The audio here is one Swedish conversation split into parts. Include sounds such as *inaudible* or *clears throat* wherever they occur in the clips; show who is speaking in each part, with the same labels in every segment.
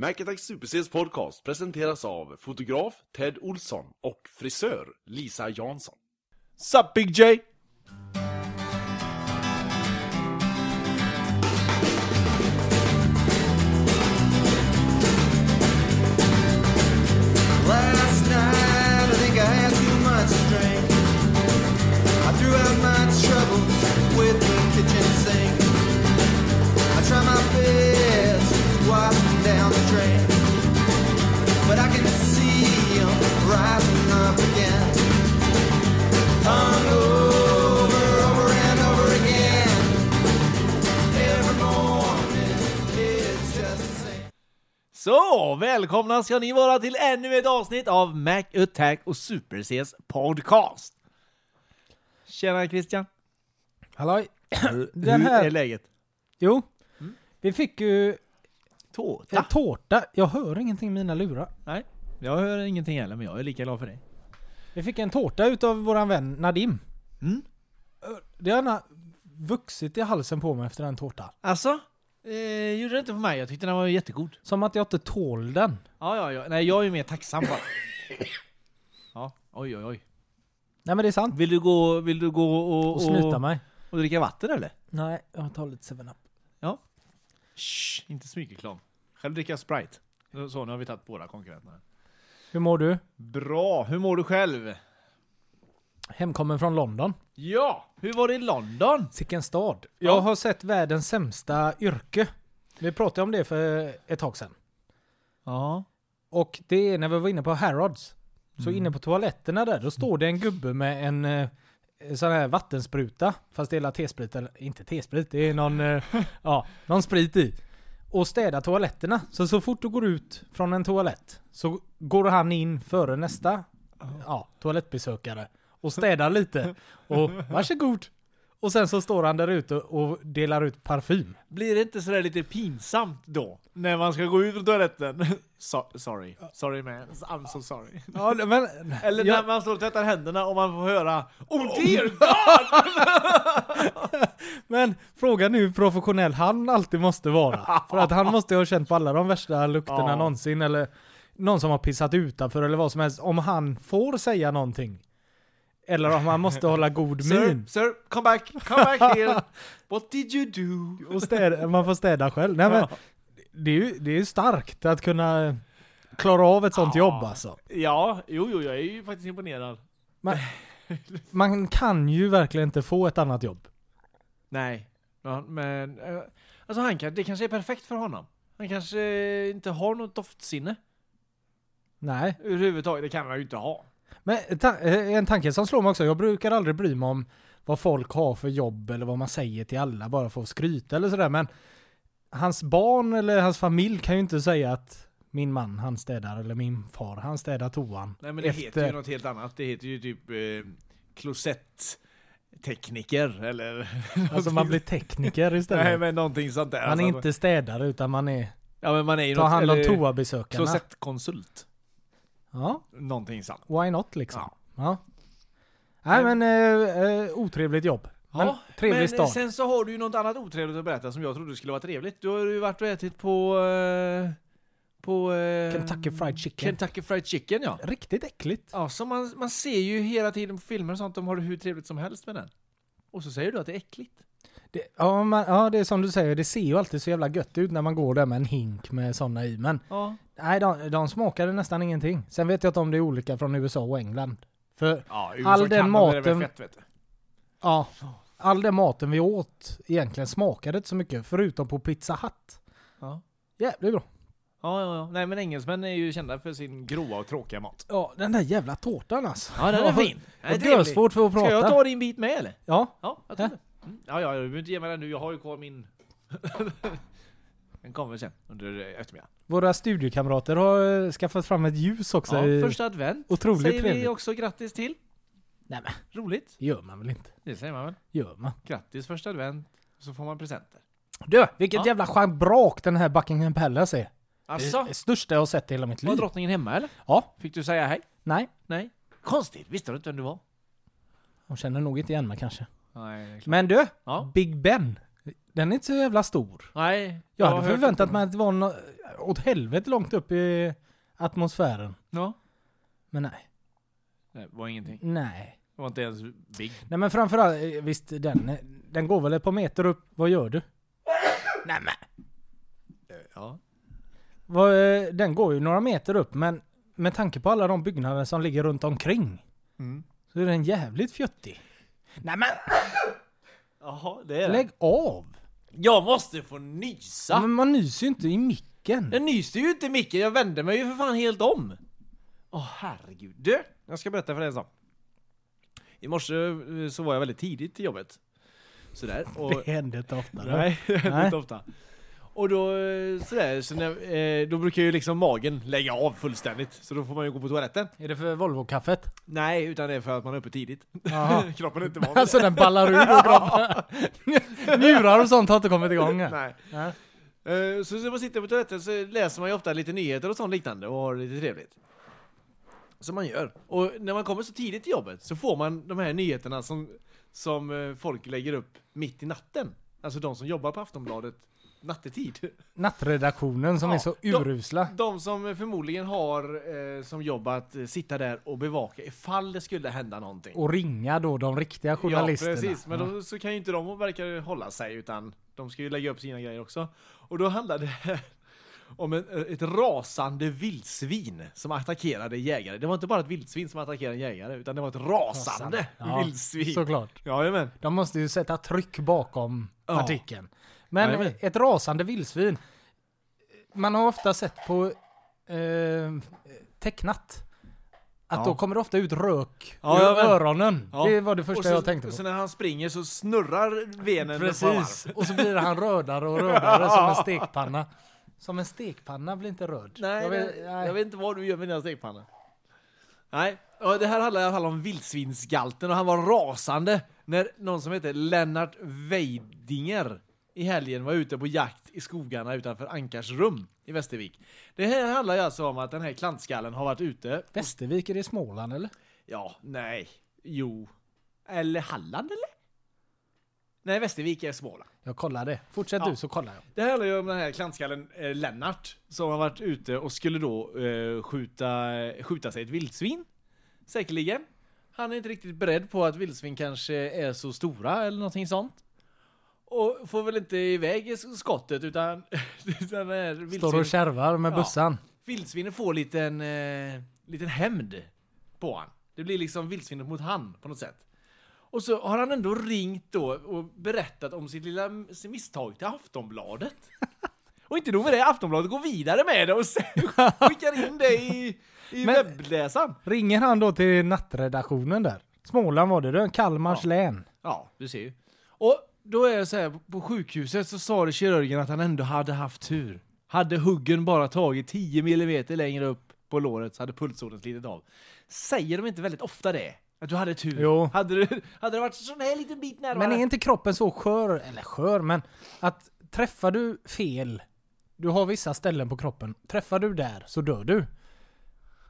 Speaker 1: Macattack SuperCs podcast presenteras av fotograf Ted Olsson och frisör Lisa Jansson.
Speaker 2: Sup Big J!
Speaker 3: Last night, I think I had too much to drink. I threw out my troubles with the kitchen sink. I try my best to wash them down the drain, but I can see 'em rising up again. Hung over, over and over again. Every morning, it's just the same.
Speaker 2: Så, välkomna ska ni vara till ännu ett avsnitt av Mac Attack och Super-Cs podcast. Tjena Christian,
Speaker 4: Halloj! *clears throat* Den
Speaker 2: hur är
Speaker 4: här,
Speaker 2: läget?
Speaker 4: jo,
Speaker 2: Mm.
Speaker 4: vi fick ju en
Speaker 2: Tårta?
Speaker 4: tårta. Jag hör ingenting i mina lurar.
Speaker 2: Nej, jag hör ingenting heller men jag är lika glad för dig.
Speaker 4: Vi fick en tårta utav våran vän Nadim.
Speaker 2: Mm.
Speaker 4: Det har gärna vuxit i halsen på mig efter den tårtan.
Speaker 2: Alltså? Eh, gjorde det inte för mig, jag tyckte den var jättegod.
Speaker 4: Som att jag inte tål den.
Speaker 2: Ja, ja, ja. Nej, jag är ju mer tacksam *coughs* bara. Ja, oj, oj, oj.
Speaker 4: Nej men det är sant.
Speaker 2: Vill du gå, vill du gå och,
Speaker 4: Och snyta mig.
Speaker 2: och dricka vatten eller?
Speaker 4: Nej, jag tar lite 7-Up.
Speaker 2: Ja. Shh, inte smygreklam. Själv dricker jag Sprite. Så, nu har vi tagit båda konkurrenterna.
Speaker 4: Hur mår du?
Speaker 2: Bra! Hur mår du själv?
Speaker 4: Hemkommen från London.
Speaker 2: Ja! Hur var det i London?
Speaker 4: Sicken stad.
Speaker 2: Ja.
Speaker 4: Jag har sett världens sämsta yrke. Vi pratade om det för ett tag sedan.
Speaker 2: Ja.
Speaker 4: Och det är när vi var inne på Harrods. Så inne på toaletterna där, då står det en gubbe med en eh, sån här vattenspruta. Fast det är hela T-sprit, eller inte T-sprit, det är någon, *laughs* eh, ja, någon sprit i. Och städar toaletterna. Så så fort du går ut från en toalett så går han in före nästa ja, toalettbesökare. *laughs* Och städar lite. Och varsågod. Och sen så står han där ute och delar ut parfym.
Speaker 2: Blir det inte sådär lite pinsamt då? När man ska gå ut från toaletten? *laughs* So sorry. Sorry man. I'm so sorry.
Speaker 4: Ja, men,
Speaker 2: Eller
Speaker 4: Ja.
Speaker 2: när man står och tvättar händerna och man får höra Oh dear!
Speaker 4: Men frågan är hur professionell han alltid måste
Speaker 2: *laughs*
Speaker 4: vara. För att han måste ju ha känt på alla de värsta lukterna
Speaker 2: Ja.
Speaker 4: någonsin. Eller någon som har pissat utanför eller vad som helst. Om han får säga någonting. Eller om han måste hålla god
Speaker 2: *laughs* Sir,
Speaker 4: min.
Speaker 2: sir, come back, come back *laughs* here! What did you do?
Speaker 4: Och städa, man får städa själv. Nej, men, det, är ju, det är ju starkt att kunna klara av ett sånt
Speaker 2: Ja.
Speaker 4: jobb alltså.
Speaker 2: Ja, jo, jo, jag är ju faktiskt imponerad.
Speaker 4: Man, man kan ju verkligen inte få ett annat jobb.
Speaker 2: Nej, Ja, men eh, alltså han kan, det kanske är perfekt för honom. Han kanske eh, inte har något doftsinne
Speaker 4: Nej.
Speaker 2: överhuvudtaget. Det kan han ju inte ha.
Speaker 4: Men ta- eh, en tanke som slår mig också, jag brukar aldrig bry mig om vad folk har för jobb eller vad man säger till alla bara för att skryta eller sådär men hans barn eller hans familj kan ju inte säga att min man han städar eller min far han städar toan.
Speaker 2: Nej, men det heter
Speaker 4: efter-
Speaker 2: ju något helt annat. Det heter ju typ eh, klosetttekniker eller...
Speaker 4: Alltså man blir
Speaker 2: *laughs*
Speaker 4: tekniker istället.
Speaker 2: Nej, men någonting sånt där.
Speaker 4: man är
Speaker 2: Alltså,
Speaker 4: inte städare utan man är,
Speaker 2: Ja, men man är ju
Speaker 4: tar hand om
Speaker 2: eller
Speaker 4: toabesökarna.
Speaker 2: Klosettkonsult.
Speaker 4: Ja,
Speaker 2: Någonting sånt.
Speaker 4: why not liksom. Ja. Nej men eh, eh, otrevligt jobb. Men trevlig
Speaker 2: men
Speaker 4: stad.
Speaker 2: sen så har du ju något annat otrevligt att berätta som jag trodde skulle vara trevligt. Du har ju varit och ätit på... eh, På... eh,
Speaker 4: Kentucky Fried Chicken.
Speaker 2: Kentucky Fried Chicken ja.
Speaker 4: Riktigt äckligt.
Speaker 2: Ja, så man, man ser ju hela tiden på filmer och sånt, de har det hur trevligt som helst med den. Och så säger du att det är äckligt.
Speaker 4: Det, ja, man, ja, det är som du säger, det ser ju alltid så jävla gött ut när man går där med en hink med sådana i. Men
Speaker 2: Ja.
Speaker 4: nej, de, de smakade nästan ingenting. Sen vet jag inte om det är olika från USA och England. För
Speaker 2: ja
Speaker 4: All den maten-
Speaker 2: Fett, vet du.
Speaker 4: ja, all den maten vi åt egentligen smakade inte så mycket, förutom på Pizza Hut.
Speaker 2: Ja.
Speaker 4: Jävligt bra.
Speaker 2: Ja, ja, ja. Nej men engelsmän är ju kända för sin grova och tråkiga mat.
Speaker 4: Ja, den där jävla tårtan alltså.
Speaker 2: Ja, den är fin. Den är
Speaker 4: Och
Speaker 2: trevlig.
Speaker 4: görsvårt för att
Speaker 2: Ska
Speaker 4: prata.
Speaker 2: jag ta din bit med eller?
Speaker 4: Ja,
Speaker 2: Ja, jag tror
Speaker 4: Ja.
Speaker 2: det. Mm. Ja, ja, du behöver inte ge mig den nu, jag har ju kvar min... *laughs* den kommer sen, under eh, eftermiddagen.
Speaker 4: våra studiekamrater har eh, skaffat fram ett ljus också.
Speaker 2: Ja,
Speaker 4: i-
Speaker 2: första advent
Speaker 4: Otroligt
Speaker 2: säger vi
Speaker 4: trevligt.
Speaker 2: också grattis till.
Speaker 4: Nej men,
Speaker 2: Roligt.
Speaker 4: det gör man väl inte?
Speaker 2: Det säger man väl?
Speaker 4: Gör man?
Speaker 2: Grattis första advent, så får man presenter.
Speaker 4: Du, vilket
Speaker 2: Ja.
Speaker 4: jävla schabrak den här Buckingham Palace är.
Speaker 2: Alltså,
Speaker 4: Det största jag har sett i hela mitt
Speaker 2: var
Speaker 4: liv.
Speaker 2: drottningen hemma eller?
Speaker 4: Ja,
Speaker 2: Fick du säga hej?
Speaker 4: nej.
Speaker 2: Nej. Konstigt, visste du inte vem du var?
Speaker 4: Hon känner nog inte igen mig kanske.
Speaker 2: Nej,
Speaker 4: Men du,
Speaker 2: Ja.
Speaker 4: Big Ben. Den är inte så jävla stor.
Speaker 2: Nej
Speaker 4: Jag hade förväntat mig att det var nå- åt helvete långt upp i atmosfären.
Speaker 2: Ja.
Speaker 4: Men nej.
Speaker 2: Det var ingenting.
Speaker 4: Nej.
Speaker 2: Det var inte ens big.
Speaker 4: Nej men framförallt, eh, visst den, eh, den går väl ett par meter upp. Vad gör du? nej men.
Speaker 2: Ja.
Speaker 4: Vad, eh, Den går ju några meter upp men med tanke på alla de byggnader som ligger runt omkring.
Speaker 2: Mm.
Speaker 4: Så är den jävligt fjuttig. Nej men
Speaker 2: Jaha, det är
Speaker 4: lägg av!
Speaker 2: Jag måste få nysa!
Speaker 4: Men man nyser ju inte i micken.
Speaker 2: Jag nyste ju inte Micke, jag vände mig ju för fan helt om! Åh herregud. Du, jag ska berätta för dig en sak. I morse eh, så var jag väldigt tidigt till jobbet. Sådär. Och,
Speaker 4: Det händer inte oftare.
Speaker 2: *laughs* nej, det händer
Speaker 4: Nej.
Speaker 2: inte ofta. Och då, eh, sådär, så när, eh, då brukar ju liksom magen lägga av fullständigt. Så då får man ju gå på toaletten.
Speaker 4: Är det för
Speaker 2: *laughs*
Speaker 4: Volvo-kaffet?
Speaker 2: Nej, utan det är för att man är uppe tidigt.
Speaker 4: Jaha.
Speaker 2: *laughs* Kroppen är
Speaker 4: *laughs*
Speaker 2: inte van vid det.
Speaker 4: Alltså den ballar ur och
Speaker 2: *laughs*
Speaker 4: droppar. Njurar och sånt har inte kommit igång än.
Speaker 2: Nej.
Speaker 4: Nej.
Speaker 2: Eh, Så när man sitter på toaletten så läser man ju ofta lite nyheter och sånt liknande och har det lite trevligt. Som man gör. Och när man kommer så tidigt till jobbet så får man de här nyheterna som, som eh, folk lägger upp mitt i natten. Alltså de som jobbar på Aftonbladet nattetid. *laughs*
Speaker 4: Nattredaktionen som
Speaker 2: Ja,
Speaker 4: är så
Speaker 2: de-
Speaker 4: urusla.
Speaker 2: De som förmodligen har eh, som jobb att eh, sitta där och bevaka ifall det skulle hända någonting.
Speaker 4: Och ringa då de riktiga journalisterna.
Speaker 2: Ja, precis. Men då, så kan ju inte de verka hålla sig, utan de ska ju lägga upp sina grejer också. Och då handlade det *laughs* om en, ett rasande vildsvin som attackerade jägare. Det var inte bara ett vildsvin som attackerade en jägare, utan det var ett rasande,
Speaker 4: Ja,
Speaker 2: vildsvin.
Speaker 4: Såklart.
Speaker 2: Jajamän.
Speaker 4: De måste ju sätta tryck bakom
Speaker 2: Ja.
Speaker 4: artikeln. Men
Speaker 2: Jajamän.
Speaker 4: ett rasande vildsvin. Man har ofta sett på eh, tecknat. Att
Speaker 2: Ja.
Speaker 4: då kommer det ofta ut rök
Speaker 2: Ja,
Speaker 4: ur
Speaker 2: jajamän.
Speaker 4: öronen.
Speaker 2: Ja.
Speaker 4: Det var det första
Speaker 2: och så,
Speaker 4: jag tänkte på.
Speaker 2: Så när han springer så snurrar venen ett par
Speaker 4: Precis.
Speaker 2: varv.
Speaker 4: Och så blir han rödare och rödare
Speaker 2: *laughs*
Speaker 4: som en stekpanna. Som en stekpanna blir inte röd.
Speaker 2: Nej,
Speaker 4: jag vet, nej.
Speaker 2: jag vet inte vad du gör med dina stekpannor. Nej, och det här handlar i alla fall om vildsvinsgalten och han var rasande när någon som heter Lennart Weidinger i helgen var ute på jakt i skogarna utanför Ankarsrum i Västervik. Det här handlar ju alltså om att den här klantskallen har varit ute.
Speaker 4: Västervik, är det Småland eller?
Speaker 2: Ja, nej, jo. Eller Halland eller? Nej, Västervik är Småland.
Speaker 4: Jag kollar det. Fortsätt
Speaker 2: Ja.
Speaker 4: du så kollar jag.
Speaker 2: Det handlar ju om den här klantskallen eh, Lennart som har varit ute och skulle då eh, skjuta, skjuta sig ett vildsvin. Säkerligen. Han är inte riktigt beredd på att vildsvin kanske är så stora eller någonting sånt. Och får väl inte iväg skottet utan... *laughs* utan den här
Speaker 4: Står
Speaker 2: vildsvin,
Speaker 4: och kärvar med
Speaker 2: Ja.
Speaker 4: bussan.
Speaker 2: vildsvinen får liten, eh, liten hämnd på han. Det blir liksom vildsvinet mot han på något sätt. Och så har han ändå ringt då och berättat om sitt lilla sitt misstag till Aftonbladet. Och inte nog med det, Aftonbladet går vidare med det och sen *laughs* skickar in det i, i
Speaker 4: Men-
Speaker 2: webbläsaren.
Speaker 4: Ringer han då till nattredaktionen där? Småland var det då, Kalmars län.
Speaker 2: Ja, du ser ju. Och då är det så här, på sjukhuset så sa det kirurgen att han ändå hade haft tur. Hade huggen bara tagit 10 millimeter längre upp på låret så hade pulsådern slitit av. Säger de inte väldigt ofta det? Att du hade tur?
Speaker 4: Jo.
Speaker 2: Hade, du, hade det varit en sån här liten bit närmare?
Speaker 4: Men är inte kroppen så skör, eller skör, men att träffar du fel, du har vissa ställen på kroppen, träffar du där så dör du.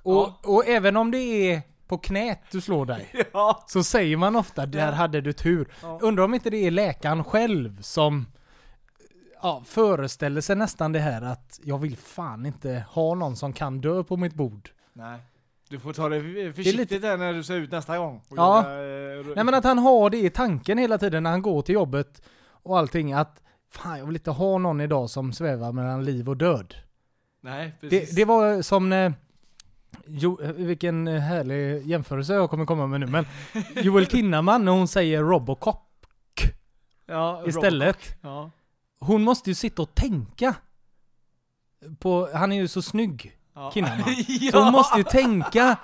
Speaker 4: Och,
Speaker 2: Ja.
Speaker 4: och även om det är på knät du slår *laughs* dig,
Speaker 2: Ja.
Speaker 4: så säger man ofta där hade du tur. Undrar om inte det är läkaren själv som ja, föreställer sig nästan det här att jag vill fan inte ha någon som kan dö på mitt bord.
Speaker 2: Nej. Du får ta det försiktigt
Speaker 4: lite-
Speaker 2: där när du ser ut nästa gång. Och
Speaker 4: Ja.
Speaker 2: göra, eh,
Speaker 4: Nej men att han har det i tanken hela tiden när han går till jobbet och allting att fan jag vill inte ha någon idag som svävar mellan liv och död.
Speaker 2: Nej, precis.
Speaker 4: Det, det var som när, jo, vilken härlig jämförelse jag kommer komma med nu men Joel Kinnaman när hon säger Robocop
Speaker 2: ja,
Speaker 4: istället.
Speaker 2: Ja.
Speaker 4: Hon måste ju sitta och tänka. På, han är ju så snygg,
Speaker 2: Ja.
Speaker 4: Kinnaman.
Speaker 2: *laughs* ja.
Speaker 4: Så hon måste ju tänka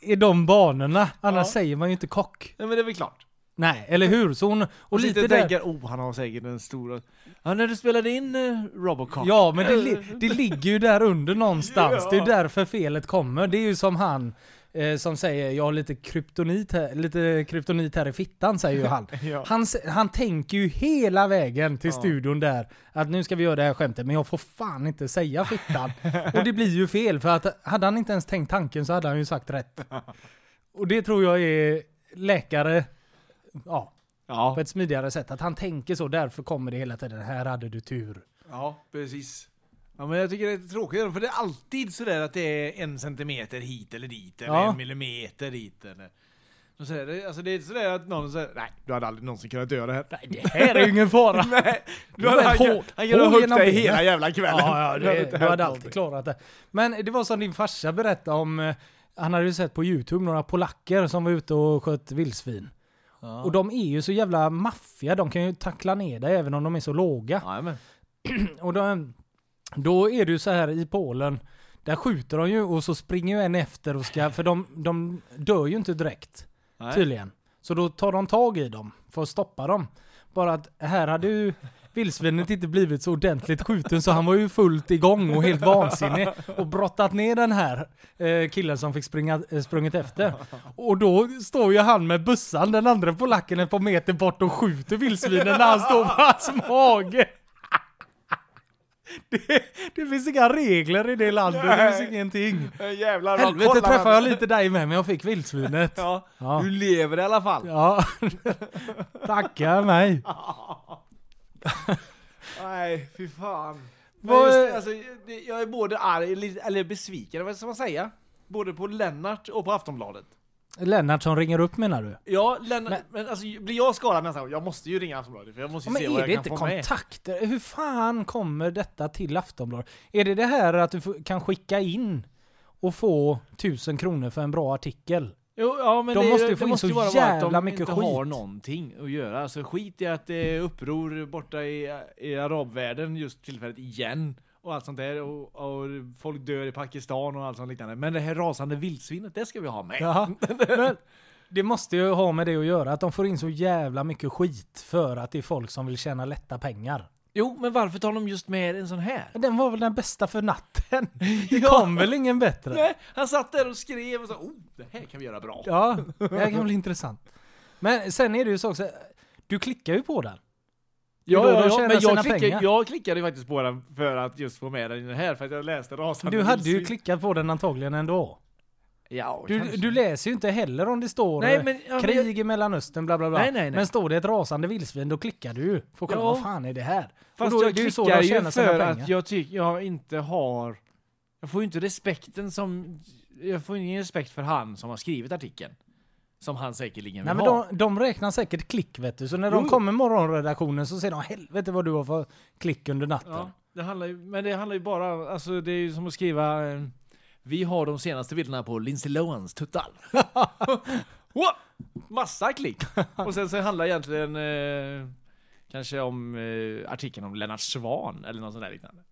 Speaker 4: i de banorna, annars
Speaker 2: Ja.
Speaker 4: säger man ju inte kock.
Speaker 2: Nej, men det är väl klart.
Speaker 4: Nej, eller hur? Så hon, och
Speaker 2: Och lite
Speaker 4: lite
Speaker 2: inte
Speaker 4: där,
Speaker 2: tänker, oh han har säkert en stor... Ja, när du spelade in eh, Robocop.
Speaker 4: Ja, men det, li- det ligger ju där under någonstans.
Speaker 2: *laughs* Ja.
Speaker 4: Det är ju därför felet kommer. Det är ju som han eh, som säger jag har lite kryptonit här, lite kryptonit här i fittan säger ju han.
Speaker 2: *laughs* Ja.
Speaker 4: han. s- Han tänker ju hela vägen till studion där att nu ska vi göra det här skämtet men jag får fan inte säga
Speaker 2: *laughs*
Speaker 4: fittan. Och det blir ju fel för att hade han inte ens tänkt tanken så hade han ju sagt
Speaker 2: *laughs*
Speaker 4: rätt. Och det tror jag är läkare Ja,
Speaker 2: Ja.
Speaker 4: på ett smidigare sätt. Att han tänker så, därför kommer det hela tiden. Här hade du tur.
Speaker 2: ja, precis. Ja, men jag tycker det är tråkigt för det är alltid sådär att det är en centimeter hit eller dit eller
Speaker 4: Ja.
Speaker 2: en millimeter dit eller... Och Så där, det, alltså det är inte sådär att någon säger nej, du hade aldrig någonsin kunnat göra det här.
Speaker 4: Nej, det här är ju
Speaker 2: *laughs*
Speaker 4: ingen fara.
Speaker 2: Nej,
Speaker 4: Du är
Speaker 2: han,
Speaker 4: hård.
Speaker 2: han kunde
Speaker 4: Hård
Speaker 2: ha huggit
Speaker 4: genom
Speaker 2: dig
Speaker 4: benen.
Speaker 2: hela jävla kvällen.
Speaker 4: Ja, ja
Speaker 2: har
Speaker 4: det,
Speaker 2: inte
Speaker 4: du
Speaker 2: hänt
Speaker 4: hade
Speaker 2: någonting.
Speaker 4: alltid klarat det. Men det var som din farsa berättade om, eh, han hade ju sett på YouTube några polacker som var ute och sköt vildsvin. Och de är ju så jävla maffiga, de kan ju tackla ner dig även om de är så låga.
Speaker 2: Jajamän.
Speaker 4: Och de, då är det ju så här i Polen, där skjuter de ju och så springer ju en efter och ska, för de, de dör ju inte direkt.
Speaker 2: Nej.
Speaker 4: Tydligen. Så då tar de tag i dem för att stoppa dem. Bara att här hade ju vildsvinet inte blivit så ordentligt skjuten så han var ju fullt igång och helt vansinnig och brottat ner den här eh, killen som fick springa, eh, sprungit efter. Och då står ju han med bussan, den andra polacken ett par meter bort och skjuter vildsvinen när han står på hans mage. Det, *laughs* det finns inga regler i det landet, det finns ingenting.
Speaker 2: Eh, Jävlar vad
Speaker 4: Helvete
Speaker 2: kollar
Speaker 4: träffade
Speaker 2: han.
Speaker 4: jag lite dig med men jag fick vildsvinet.
Speaker 2: Ja.
Speaker 4: Ja.
Speaker 2: Du lever i alla fall. *laughs*
Speaker 4: Ja, tacka mig.
Speaker 2: Nej, fy fan. Men
Speaker 4: Vad
Speaker 2: just,
Speaker 4: är-
Speaker 2: det, alltså, det- jag är både arg, eller- eller besviken, vad ska man säga? Både på Lennart och på Aftonbladet.
Speaker 4: Lennart som ringer upp menar du?
Speaker 2: Ja, Lennart, men, alltså, blir jag skadad nästa gång? Jag måste ju ringa Aftonbladet för jag måste ju
Speaker 4: Men
Speaker 2: se vad
Speaker 4: är
Speaker 2: jag
Speaker 4: det
Speaker 2: kan
Speaker 4: inte
Speaker 2: få med.
Speaker 4: kontakter? Hur fan kommer detta till Aftonbladet? Är det det här att du får- kan skicka in och få tusen kronor för en bra artikel?
Speaker 2: Jo, ja, men
Speaker 4: De
Speaker 2: det,
Speaker 4: måste ju
Speaker 2: det
Speaker 4: få in
Speaker 2: måste
Speaker 4: så
Speaker 2: ju vara att
Speaker 4: jävla
Speaker 2: de
Speaker 4: mycket
Speaker 2: inte
Speaker 4: skit.
Speaker 2: har någonting att göra. Alltså skit i att det är uppror borta i, i arabvärlden just tillfället igen. Och allt sånt där. Och, och folk dör i Pakistan och allt sånt liknande. Men det här rasande vildsvinet, det ska vi ha med. *laughs*
Speaker 4: Jaha. Men det måste ju ha med det att göra, att de får in så jävla mycket skit för att det är folk som vill tjäna lätta pengar.
Speaker 2: Jo, men varför tar de just med en sån här?
Speaker 4: Den var väl den bästa för natten?
Speaker 2: *laughs*
Speaker 4: Det kom väl ingen bättre?
Speaker 2: Nej, han satt där och skrev och sa oh, det här kan vi göra bra.
Speaker 4: Ja, det här kan bli intressant. Men sen är det ju så också, du klickar ju på den.
Speaker 2: Ja,
Speaker 4: då de
Speaker 2: ja, ja,
Speaker 4: tjänar
Speaker 2: men
Speaker 4: sina
Speaker 2: jag, klickade,
Speaker 4: pengar.
Speaker 2: jag klickade ju faktiskt på den för att just få med den i den här, för att jag läste rasande
Speaker 4: Du hade ju
Speaker 2: vildsvin.
Speaker 4: klickat på den antagligen ändå.
Speaker 2: Ja,
Speaker 4: Du,
Speaker 2: kanske.
Speaker 4: du läser ju inte heller om det står
Speaker 2: Nej,
Speaker 4: eh,
Speaker 2: men- ja, men
Speaker 4: krig
Speaker 2: jag-
Speaker 4: i Mellanöstern bla bla bla.
Speaker 2: Nej, nej, nej.
Speaker 4: Men står det ett rasande vildsvin då klickar du ju. Får kolla
Speaker 2: Ja.
Speaker 4: vad fan är det här?
Speaker 2: Fast
Speaker 4: och då,
Speaker 2: jag
Speaker 4: det är ju så
Speaker 2: klickar
Speaker 4: de
Speaker 2: ju
Speaker 4: tjänar sina
Speaker 2: för
Speaker 4: pengar.
Speaker 2: att jag tycker jag inte har... Jag får ju inte respekten som... Jag får ingen respekt för han som har skrivit artikeln. Som han säkerligen
Speaker 4: Nej
Speaker 2: vill
Speaker 4: men
Speaker 2: ha.
Speaker 4: de, de räknar säkert klick vet du. Så när
Speaker 2: Jo,
Speaker 4: de
Speaker 2: jo.
Speaker 4: kommer morgonredaktionen så säger de helvete vad du har för klick under natten.
Speaker 2: Ja, det handlar ju, men det handlar ju bara... Alltså det är ju som att skriva... eh, Vi har de senaste bilderna på Lindsay Lohans tuttar. *laughs* Wow! Massa klick! Och sen så handlar det egentligen... Eh, kanske om eh, artikeln om Lennart Svan eller något sånt där liknande.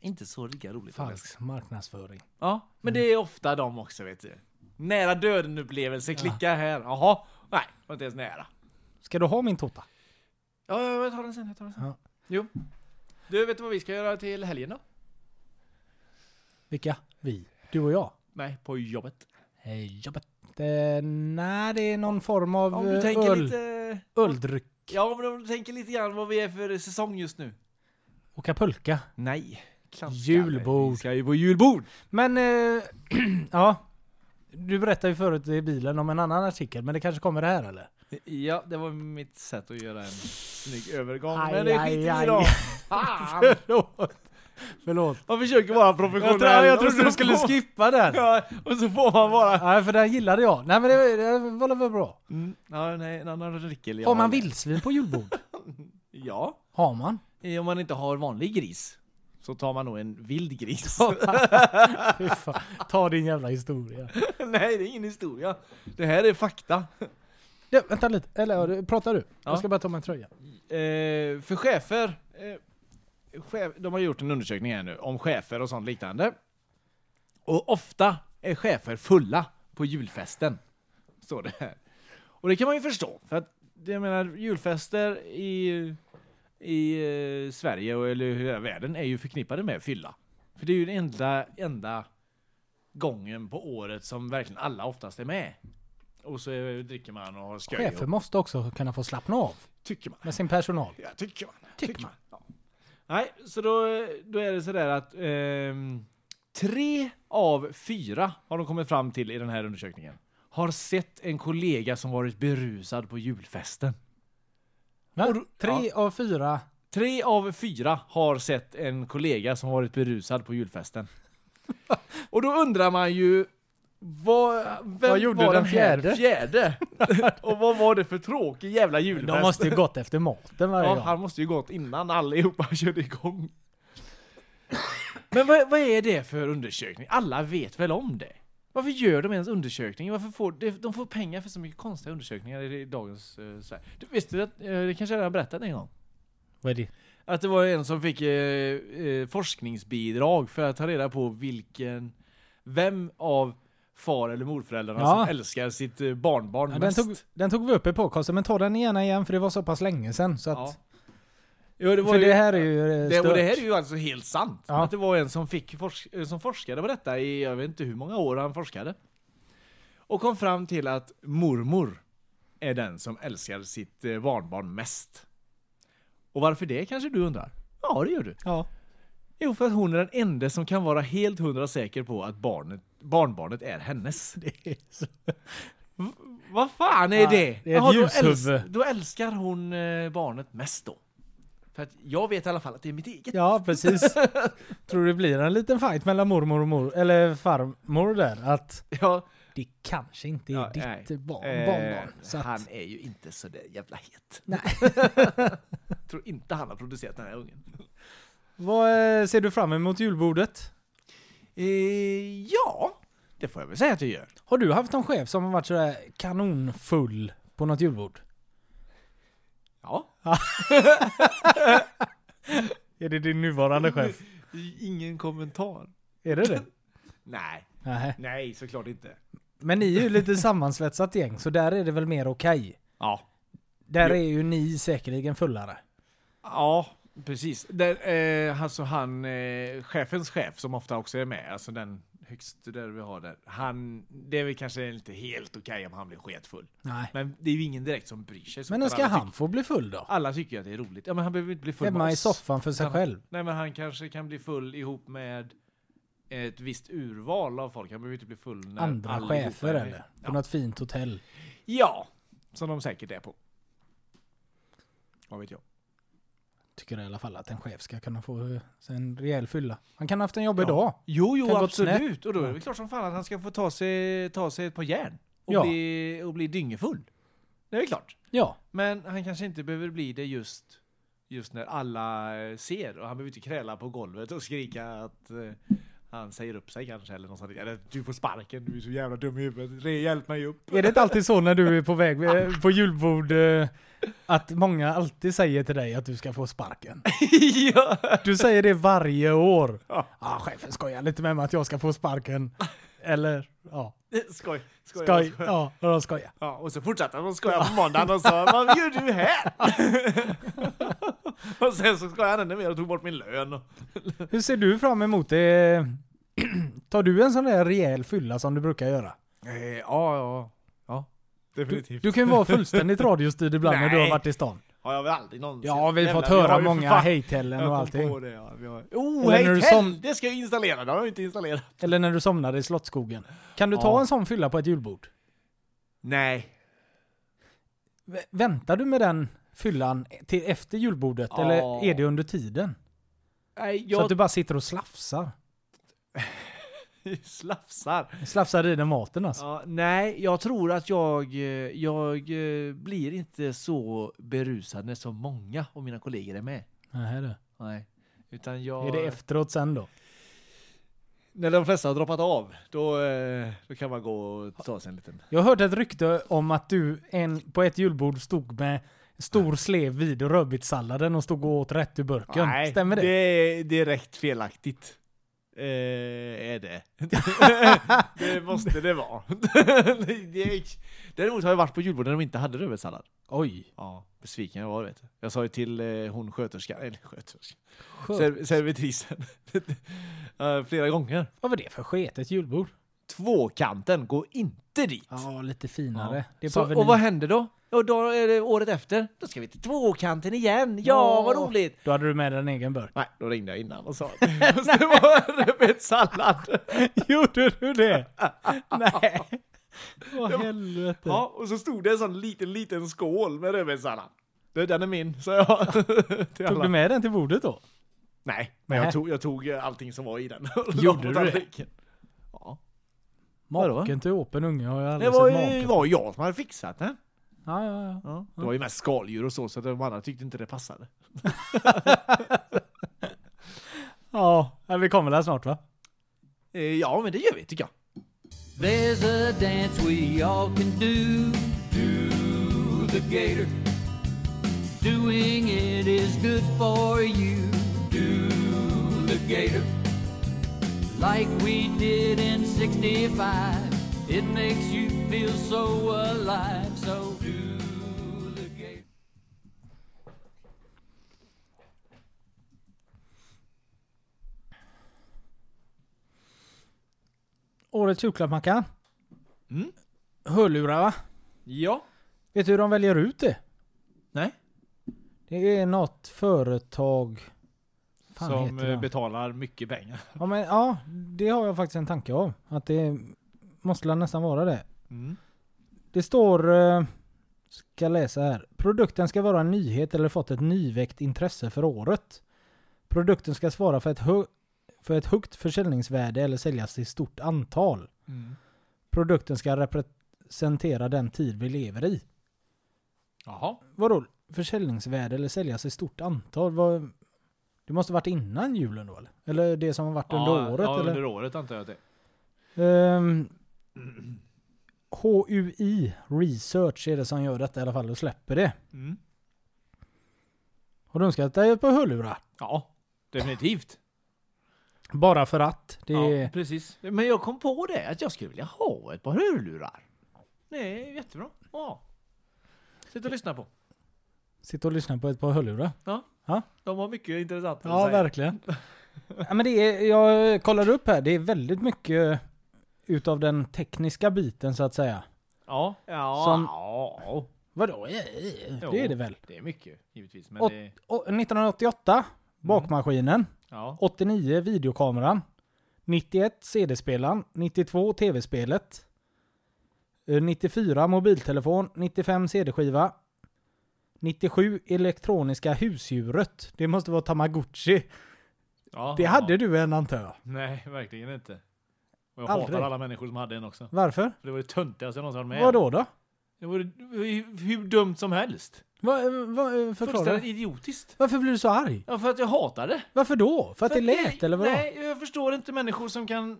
Speaker 2: Inte så lika roligt. att läsa.
Speaker 4: Falsk marknadsföring.
Speaker 2: Ja, men det är ofta de också vet du. Nära döden upplevelse, klicka här. Jaha, nej, var inte ens nära.
Speaker 4: Ska du ha min tota?
Speaker 2: Ja, ja, jag tar den sen, jag tar den sen.
Speaker 4: Ja.
Speaker 2: Jo. Du, vet du vad vi ska göra till helgen då?
Speaker 4: Vilka? Vi? Du och jag?
Speaker 2: Nej, på jobbet.
Speaker 4: Eh, Jobbet? Eh, nej, det är någon form av
Speaker 2: Om du
Speaker 4: eh,
Speaker 2: tänker
Speaker 4: öl,
Speaker 2: lite...
Speaker 4: öldryck.
Speaker 2: Ja, men om du tänker lite grann vad vi är för säsong just nu.
Speaker 4: Åka pulka.
Speaker 2: Nej. Klappskalle.
Speaker 4: Julbord.
Speaker 2: Vi ska ju på julbord.
Speaker 4: Men, eh, *clears throat* ja. Du berättade ju förut i bilen om en annan artikel, men det kanske kommer det här eller?
Speaker 2: Ja, det var mitt sätt att göra en snygg övergång.
Speaker 4: Aj,
Speaker 2: men det
Speaker 4: aj,
Speaker 2: skiter vi i
Speaker 4: aj.
Speaker 2: då. Fan!
Speaker 4: Förlåt. *laughs* Förlåt.
Speaker 2: *laughs* Man försöker vara professionell.
Speaker 4: Jag, tror, jag
Speaker 2: och
Speaker 4: trodde
Speaker 2: så
Speaker 4: du skulle
Speaker 2: får-
Speaker 4: skippa den. Nej,
Speaker 2: Ja, och så får man bara
Speaker 4: för den gillade jag. Nej, men det, det var väl bra.
Speaker 2: Mm. Ja, nej, en annan artikel jag
Speaker 4: Har man
Speaker 2: har.
Speaker 4: vildsvin på julbord?
Speaker 2: Ja.
Speaker 4: Har
Speaker 2: *laughs*
Speaker 4: man?
Speaker 2: Eh, Om man inte har vanlig gris. Så tar man nog en vild gris.
Speaker 4: Fy fan. Ta din jävla historia.
Speaker 2: *laughs* nej, det är ingen historia. Det här är fakta.
Speaker 4: Ja, vänta lite. Eller ja, du- pratar du?
Speaker 2: Ja.
Speaker 4: Jag ska bara ta mig en tröja.
Speaker 2: Eh, för chefer. Eh, chef, de har gjort en undersökning här nu om chefer och sånt liknande. Och ofta är chefer fulla på julfesten. Står det här. Och det kan man ju förstå. För att det- jag menar, julfester i, i eh, Sverige och eller hela världen är ju förknippade med fylla. För det är ju den enda, enda gången på året som verkligen alla oftast är med. Och så eh, dricker man och har skoj. och-
Speaker 4: Chefer måste också kunna få slappna av
Speaker 2: tycker man.
Speaker 4: med sin personal.
Speaker 2: Ja, tycker man.
Speaker 4: Tycker man.
Speaker 2: Ja. Nej, så då, då är det sådär att ehm, tre av fyra har de kommit fram till i den här undersökningen. Har sett en kollega som varit berusad på julfesten.
Speaker 4: Va? Tre av fyra
Speaker 2: Tre av fyra har sett en kollega som varit berusad på julfesten. Och då undrar man ju, vad, vem
Speaker 5: Vad gjorde
Speaker 2: var
Speaker 5: den
Speaker 2: den här
Speaker 5: fjärde?
Speaker 2: fjärde? Och vad var det för tråkig jävla julfest?
Speaker 4: De måste ju gått efter maten varje
Speaker 2: ja,
Speaker 4: gång.
Speaker 2: han måste ju gått innan allihopa *laughs* körde igång. Men vad, vad är det för undersökning? Alla vet väl om det? Varför gör de ens undersökningar? Varför får de, de får pengar för så mycket konstiga undersökningar i dagens eh, Sverige? Du, visste du att, eh, det kanske jag redan berättat en gång?
Speaker 4: Vad är det?
Speaker 2: Att det var en som fick eh, eh, forskningsbidrag för att ta reda på vilken, vem av far eller morföräldrarna
Speaker 4: Ja.
Speaker 2: som älskar sitt eh, barnbarn
Speaker 4: Ja, den,
Speaker 2: mest.
Speaker 4: tog, den tog vi upp i podcasten, men ta den gärna igen för det var så pass länge sedan. Så att,
Speaker 2: Ja. Jo, det var
Speaker 4: för
Speaker 2: ju,
Speaker 4: det här är ju eh,
Speaker 2: det,
Speaker 4: stört.
Speaker 2: och det här är ju alltså helt sant.
Speaker 4: Ja.
Speaker 2: Att det var en som, fick forsk, eh, som forskade på detta i, jag vet inte hur många år han forskade. Och kom fram till att mormor är den som älskar sitt eh, barnbarn mest. Och varför det kanske du undrar? Ja, det gör du.
Speaker 4: Ja.
Speaker 2: Jo, för att hon är den enda som kan vara helt hundra säker på att barnet, barnbarnet är hennes. V- Vad fan är
Speaker 4: Ja,
Speaker 2: det?
Speaker 4: det är ett
Speaker 2: Jaha, då,
Speaker 4: ljushuvud.
Speaker 2: äls- då älskar hon eh, barnet mest då. För att jag vet i alla fall att det är mitt eget.
Speaker 4: Ja,
Speaker 2: *laughs*
Speaker 4: precis. Tror det blir en liten fight mellan mormor och mor, eller farmor där, att
Speaker 2: Ja,
Speaker 4: det kanske inte är
Speaker 2: ja,
Speaker 4: ditt
Speaker 2: nej.
Speaker 4: barn,
Speaker 2: Eh,
Speaker 4: barnbarn. Så att,
Speaker 2: Han är ju inte så där jävla het.
Speaker 4: Nej.
Speaker 2: *laughs* Tror inte han har producerat den här ungen.
Speaker 4: vad eh, ser du fram emot julbordet?
Speaker 2: Eh, ja, det får jag väl säga att jag gör.
Speaker 4: Har du haft någon chef som har varit sådär kanonfull på något julbord?
Speaker 2: Ja.
Speaker 4: Är det din nuvarande chef?
Speaker 2: Ingen kommentar.
Speaker 4: Är det *laughs* det?
Speaker 2: Nej,
Speaker 4: Nej.
Speaker 2: nej såklart inte.
Speaker 4: Men ni är ju lite sammansvetsat gäng, så där är det väl mer okej?
Speaker 2: Ja.
Speaker 4: Där är ju ni säkerligen fullare.
Speaker 2: Ja, precis. Den, eh, alltså han, eh, chefens chef som ofta också är med, alltså den högste där vi har där. Han, det är väl kanske inte helt okej om han blir sketfull.
Speaker 4: Nej.
Speaker 2: Men det är ju ingen direkt som bryr sig. så,
Speaker 4: Men
Speaker 2: utan
Speaker 4: när ska
Speaker 2: alla
Speaker 4: han
Speaker 2: tyck-
Speaker 4: få bli full då?
Speaker 2: alla tycker ju att det är roligt. Ja, men han behöver inte bli full med
Speaker 4: Hemma i
Speaker 2: oss.
Speaker 4: soffan för sig
Speaker 2: Han-
Speaker 4: själv.
Speaker 2: Nej, men han kanske kan bli full ihop med ett visst urval av folk. Han behöver inte bli full när
Speaker 4: Andra
Speaker 2: allihopa är
Speaker 4: chefer
Speaker 2: med.
Speaker 4: eller? På
Speaker 2: Ja.
Speaker 4: något fint hotell.
Speaker 2: ja, som de säkert är på. Vad vet jag?
Speaker 4: Tycker i alla fall att en chef ska kunna få eh, sig en rejäl fylla. Han kan ha haft en jobbig
Speaker 2: Ja.
Speaker 4: dag.
Speaker 2: Jo, jo
Speaker 4: Kan gått
Speaker 2: absolut. Och då är det klart som fan att han ska få ta sig, ta sig ett par järn. Och,
Speaker 4: Ja.
Speaker 2: bli, och bli dyngefull. Det är väl klart.
Speaker 4: Ja.
Speaker 2: Men han kanske inte behöver bli det just, just när alla eh, ser. Och han behöver inte kräla på golvet och skrika att eh, han säger upp sig kanske. Eller något sånt. Eller du får sparken, du är så jävla dum i huvudet. Re, hjälp mig
Speaker 4: *laughs*
Speaker 2: upp.
Speaker 4: Är det inte alltid så när du är på väg eh, på julbord eh, att många alltid säger till dig att du ska få sparken?
Speaker 2: ja.
Speaker 4: Du säger det varje
Speaker 2: *laughs*
Speaker 4: år. Ja, ah, chefen skojar lite med mig att jag ska få sparken. Eller,
Speaker 2: *laughs*
Speaker 4: ja.
Speaker 2: Skoj.
Speaker 4: Skoj.
Speaker 2: Skoj. skoj.
Speaker 4: Ja, de skojar.
Speaker 2: Ja, och så fortsatte han att skoja på måndagen och sa Vad gör
Speaker 4: *laughs*
Speaker 2: du här? och sen så skojade han ännu mer och tog bort min lön. Och...
Speaker 4: Hur ser du fram emot det? *clears throat* Tar du en sån där rejäl fylla som du brukar göra?
Speaker 2: Eh, ja, ja, ja.
Speaker 4: Du, du kan ju vara fullständigt radiostyrd ibland när du har
Speaker 2: Nej.
Speaker 4: varit i stan.
Speaker 2: har jag väl aldrig någonsin.
Speaker 4: Ja, vi har
Speaker 2: Jävlar,
Speaker 4: fått
Speaker 2: jag
Speaker 4: höra
Speaker 2: har ju för
Speaker 4: många
Speaker 2: fan-
Speaker 4: hejtällen
Speaker 2: jag
Speaker 4: och
Speaker 2: kom
Speaker 4: allting.
Speaker 2: på det, ja. Vi har... Oh,
Speaker 4: Eller
Speaker 2: hej,
Speaker 4: när du
Speaker 2: hej,
Speaker 4: som-
Speaker 2: Det ska jag installera, det har jag inte installerat.
Speaker 4: Eller när du somnar i Slottsskogen. Kan du ta
Speaker 2: Ja.
Speaker 4: en sån fylla på ett julbord?
Speaker 2: Nej.
Speaker 4: Vä- Väntar du med den fyllan till efter julbordet
Speaker 2: Ja.
Speaker 4: eller är det under tiden?
Speaker 2: Nej,
Speaker 4: Så
Speaker 2: jag
Speaker 4: att du bara sitter och slafsar?
Speaker 2: *laughs* slafsar.
Speaker 4: Slafsar i den maten alltså?
Speaker 2: Ja, nej, jag tror att jag, eh, jag eh, blir inte så berusad när så många av mina kollegor är med.
Speaker 4: Nähä du.
Speaker 2: Nej. Utan jag...
Speaker 4: Är det efteråt sen då?
Speaker 2: När de flesta har droppat av, då, eh, då kan man gå och ta sig en liten...
Speaker 4: Jag hörde ett rykte om att du en, på ett julbord stod med stor slev vid rödbetssalladen och stod och åt rätt ur burken. Stämmer det?
Speaker 2: det är direkt felaktigt. Eh, är *laughs* det. det måste det vara. *laughs* det är, däremot har jag varit på julbord när de inte hade rödbetssallad.
Speaker 4: Oj.
Speaker 2: Ja, besviken jag var vet du. Jag sa ju till eh, hon sköterskan, eller sköterskan, serv- servitrisen. *laughs* eh, flera gånger.
Speaker 4: Vad var det för sketet julbord?
Speaker 2: Tvåkanten, gå inte dit!
Speaker 4: Ja, lite finare.
Speaker 2: Ja.
Speaker 4: Det är på
Speaker 2: så,
Speaker 4: Avenyn.
Speaker 2: och vad händer då? Och då är det året efter. Då ska vi till tvåkanten igen. Ja, vad roligt!
Speaker 4: Då hade du med dig en egen *laughs* burk.
Speaker 2: Nej, då ringde jag innan och sa
Speaker 4: *laughs*
Speaker 2: att det måste vara en rödbetssallad.
Speaker 4: Gjorde du det? *laughs* Nej. Åh helvete.
Speaker 2: Ja, och så stod det en sån liten, liten skål med rödbetssallad. Du, den är min, sa jag. *laughs* till
Speaker 4: Tog
Speaker 2: alla.
Speaker 4: du med den till bordet då?
Speaker 2: Nej, men
Speaker 4: Nej.
Speaker 2: jag tog, jag tog eh, allting som var i den. *laughs* och la
Speaker 4: Gjorde
Speaker 2: på
Speaker 4: du det?
Speaker 2: tallriken. Ja. Vadå?
Speaker 4: Maken till åpen unge har jag
Speaker 2: Det
Speaker 4: aldrig
Speaker 2: var
Speaker 4: sett
Speaker 2: ju Mm.
Speaker 4: maken.
Speaker 2: var jag som hade fixat den.
Speaker 4: Ja, ja, ja.
Speaker 2: Det var ju mest skaldjur och så, så att de andra tyckte inte det passade.
Speaker 4: ja, ja, vi kommer där snart va?
Speaker 2: Eh, Ja, men det gör vi tycker jag.
Speaker 5: There's a dance we all can do. Do the gator. Doing it is good for you. Do the gator. Like we did in 65. It makes you feel so alive. So do the gator.
Speaker 4: Årets julklapp Mackan.
Speaker 2: Mm.
Speaker 4: Hörlurar va?
Speaker 2: Ja.
Speaker 4: Vet du hur de väljer ut det?
Speaker 2: Nej.
Speaker 4: Det är något företag... Fan
Speaker 2: som
Speaker 4: heter det?
Speaker 2: eh, betalar mycket pengar.
Speaker 4: Ja, men, ja, det har jag faktiskt en tanke om. Att det måste väl nästan vara det.
Speaker 2: Mm.
Speaker 4: Det står... eh, Ska läsa här. Produkten ska vara en nyhet eller fått ett nyväckt intresse för året. Produkten ska svara för ett, hö- för ett högt försäljningsvärde eller säljas i stort antal.
Speaker 2: Mm.
Speaker 4: Produkten ska representera den tid vi lever i.
Speaker 2: Jaha.
Speaker 4: Vadå? Försäljningsvärde eller säljas i stort antal? Vad... Det måste varit innan julen då eller? Eller det som har varit under året?
Speaker 2: ja,
Speaker 4: eller?
Speaker 2: under året antar jag att det
Speaker 4: Ehm, HUI Research är det som gör detta i alla fall och släpper det.
Speaker 2: Mm.
Speaker 4: Har du önskat dig ett par hörlurar?
Speaker 2: Ja, definitivt.
Speaker 4: Bara för att. Det
Speaker 2: Ja,
Speaker 4: är...
Speaker 2: precis. Men jag kom på det, att jag skulle vilja ha ett par hörlurar. Det är jättebra. Ja. Sitt och lyssna på.
Speaker 4: Sitta och lyssna på ett par hörlurar.
Speaker 2: Ja.
Speaker 4: Ja.
Speaker 2: De har mycket intressant att
Speaker 4: Ja,
Speaker 2: säga.
Speaker 4: verkligen. ja, men det är, jag kollar upp här, det är väldigt mycket utav den tekniska biten så att säga.
Speaker 2: Ja. Ja.
Speaker 4: Som-
Speaker 2: ja.
Speaker 4: Vadå?
Speaker 2: Jo,
Speaker 4: Det är det väl?
Speaker 2: Det är mycket, givetvis. Men
Speaker 4: Och-
Speaker 2: det...
Speaker 4: Och 1988, bakmaskinen.
Speaker 2: Ja.
Speaker 4: 89 videokameran. 91 CD-spelaren. 92 TV-spelet. eh, 94 mobiltelefon. 95 CD-skiva. 97 elektroniska husdjuret. Det måste vara Tamagotchi.
Speaker 2: ja.
Speaker 4: Det
Speaker 2: ja.
Speaker 4: hade du en antar jag.
Speaker 2: Nej, verkligen inte. Och jag
Speaker 4: Aldrig.
Speaker 2: hatar alla människor som hade en också.
Speaker 4: Varför?
Speaker 2: För det var det töntigaste jag någonsin varit med om.
Speaker 4: Vadå då?
Speaker 2: Det var det var ju hur dumt som helst.
Speaker 4: Va, eh, va, förklara.
Speaker 2: Fullständigt idiotiskt.
Speaker 4: Varför blir du så arg?
Speaker 2: Ja, för att jag hatar det.
Speaker 4: Varför då? För att det lät
Speaker 2: det-
Speaker 4: eller vadå?
Speaker 2: Nej, jag förstår inte människor som kan...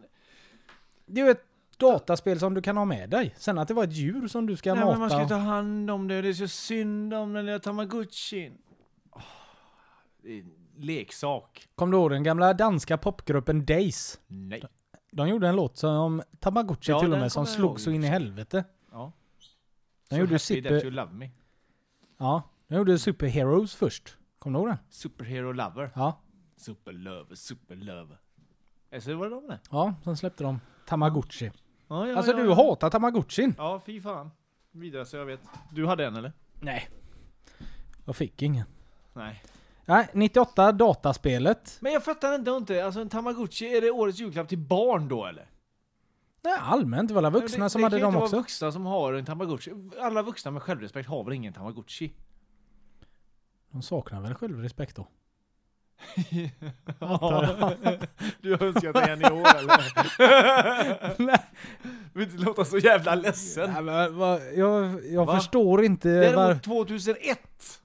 Speaker 4: Det är ju ett dataspel som du kan ha med dig. Sen att det var ett djur som du ska
Speaker 2: Nej,
Speaker 4: mata.
Speaker 2: men man ska ju ta hand om det. Det är så synd om den där tamagotchin. Åh, det är en leksak.
Speaker 4: Kom du ihåg den gamla danska popgruppen Days?
Speaker 2: Nej.
Speaker 4: De gjorde en låt som Tamagotchi
Speaker 2: Ja,
Speaker 4: till och
Speaker 2: den
Speaker 4: med som
Speaker 2: kommer jag
Speaker 4: slog
Speaker 2: ihåg.
Speaker 4: så in i helvete.
Speaker 2: Ja.
Speaker 4: Den gjorde
Speaker 2: happy that you
Speaker 4: super...
Speaker 2: love me.
Speaker 4: Ja, den gjorde Superheroes först. Kommer du ihåg den?
Speaker 2: Superhero lover.
Speaker 4: Ja.
Speaker 2: Superlover, superlover. Eller så var Alltså, det de där.
Speaker 4: Ja, sen släppte de Tamagotchi.
Speaker 2: Ja, ja,
Speaker 4: Alltså
Speaker 2: ja,
Speaker 4: du
Speaker 2: ja.
Speaker 4: hatar Tamagotchin?
Speaker 2: Ja, fy fan. Vidare så jag vet. Du hade en eller?
Speaker 4: Nej. Jag fick ingen.
Speaker 2: Nej.
Speaker 4: Nej, 98 dataspelet.
Speaker 2: Men jag fattar ändå inte. Alltså en tamagotchi, är det årets julklapp till barn då eller?
Speaker 4: Nej, allmänt. Det var alla vuxna
Speaker 2: det,
Speaker 4: som
Speaker 2: det
Speaker 4: hade
Speaker 2: kan
Speaker 4: dem
Speaker 2: ju inte
Speaker 4: också.
Speaker 2: vara vuxna som har en tamagotchi. Alla vuxna med självrespekt har väl ingen tamagotchi?
Speaker 4: De saknar väl självrespekt då?
Speaker 2: *laughs* Ja. *laughs* du har önskat dig en i år eller? Vill inte låta så jävla ledsen.
Speaker 4: Nej, men, va, jag jag
Speaker 2: Va?
Speaker 4: förstår inte var,
Speaker 2: Däremot 2001!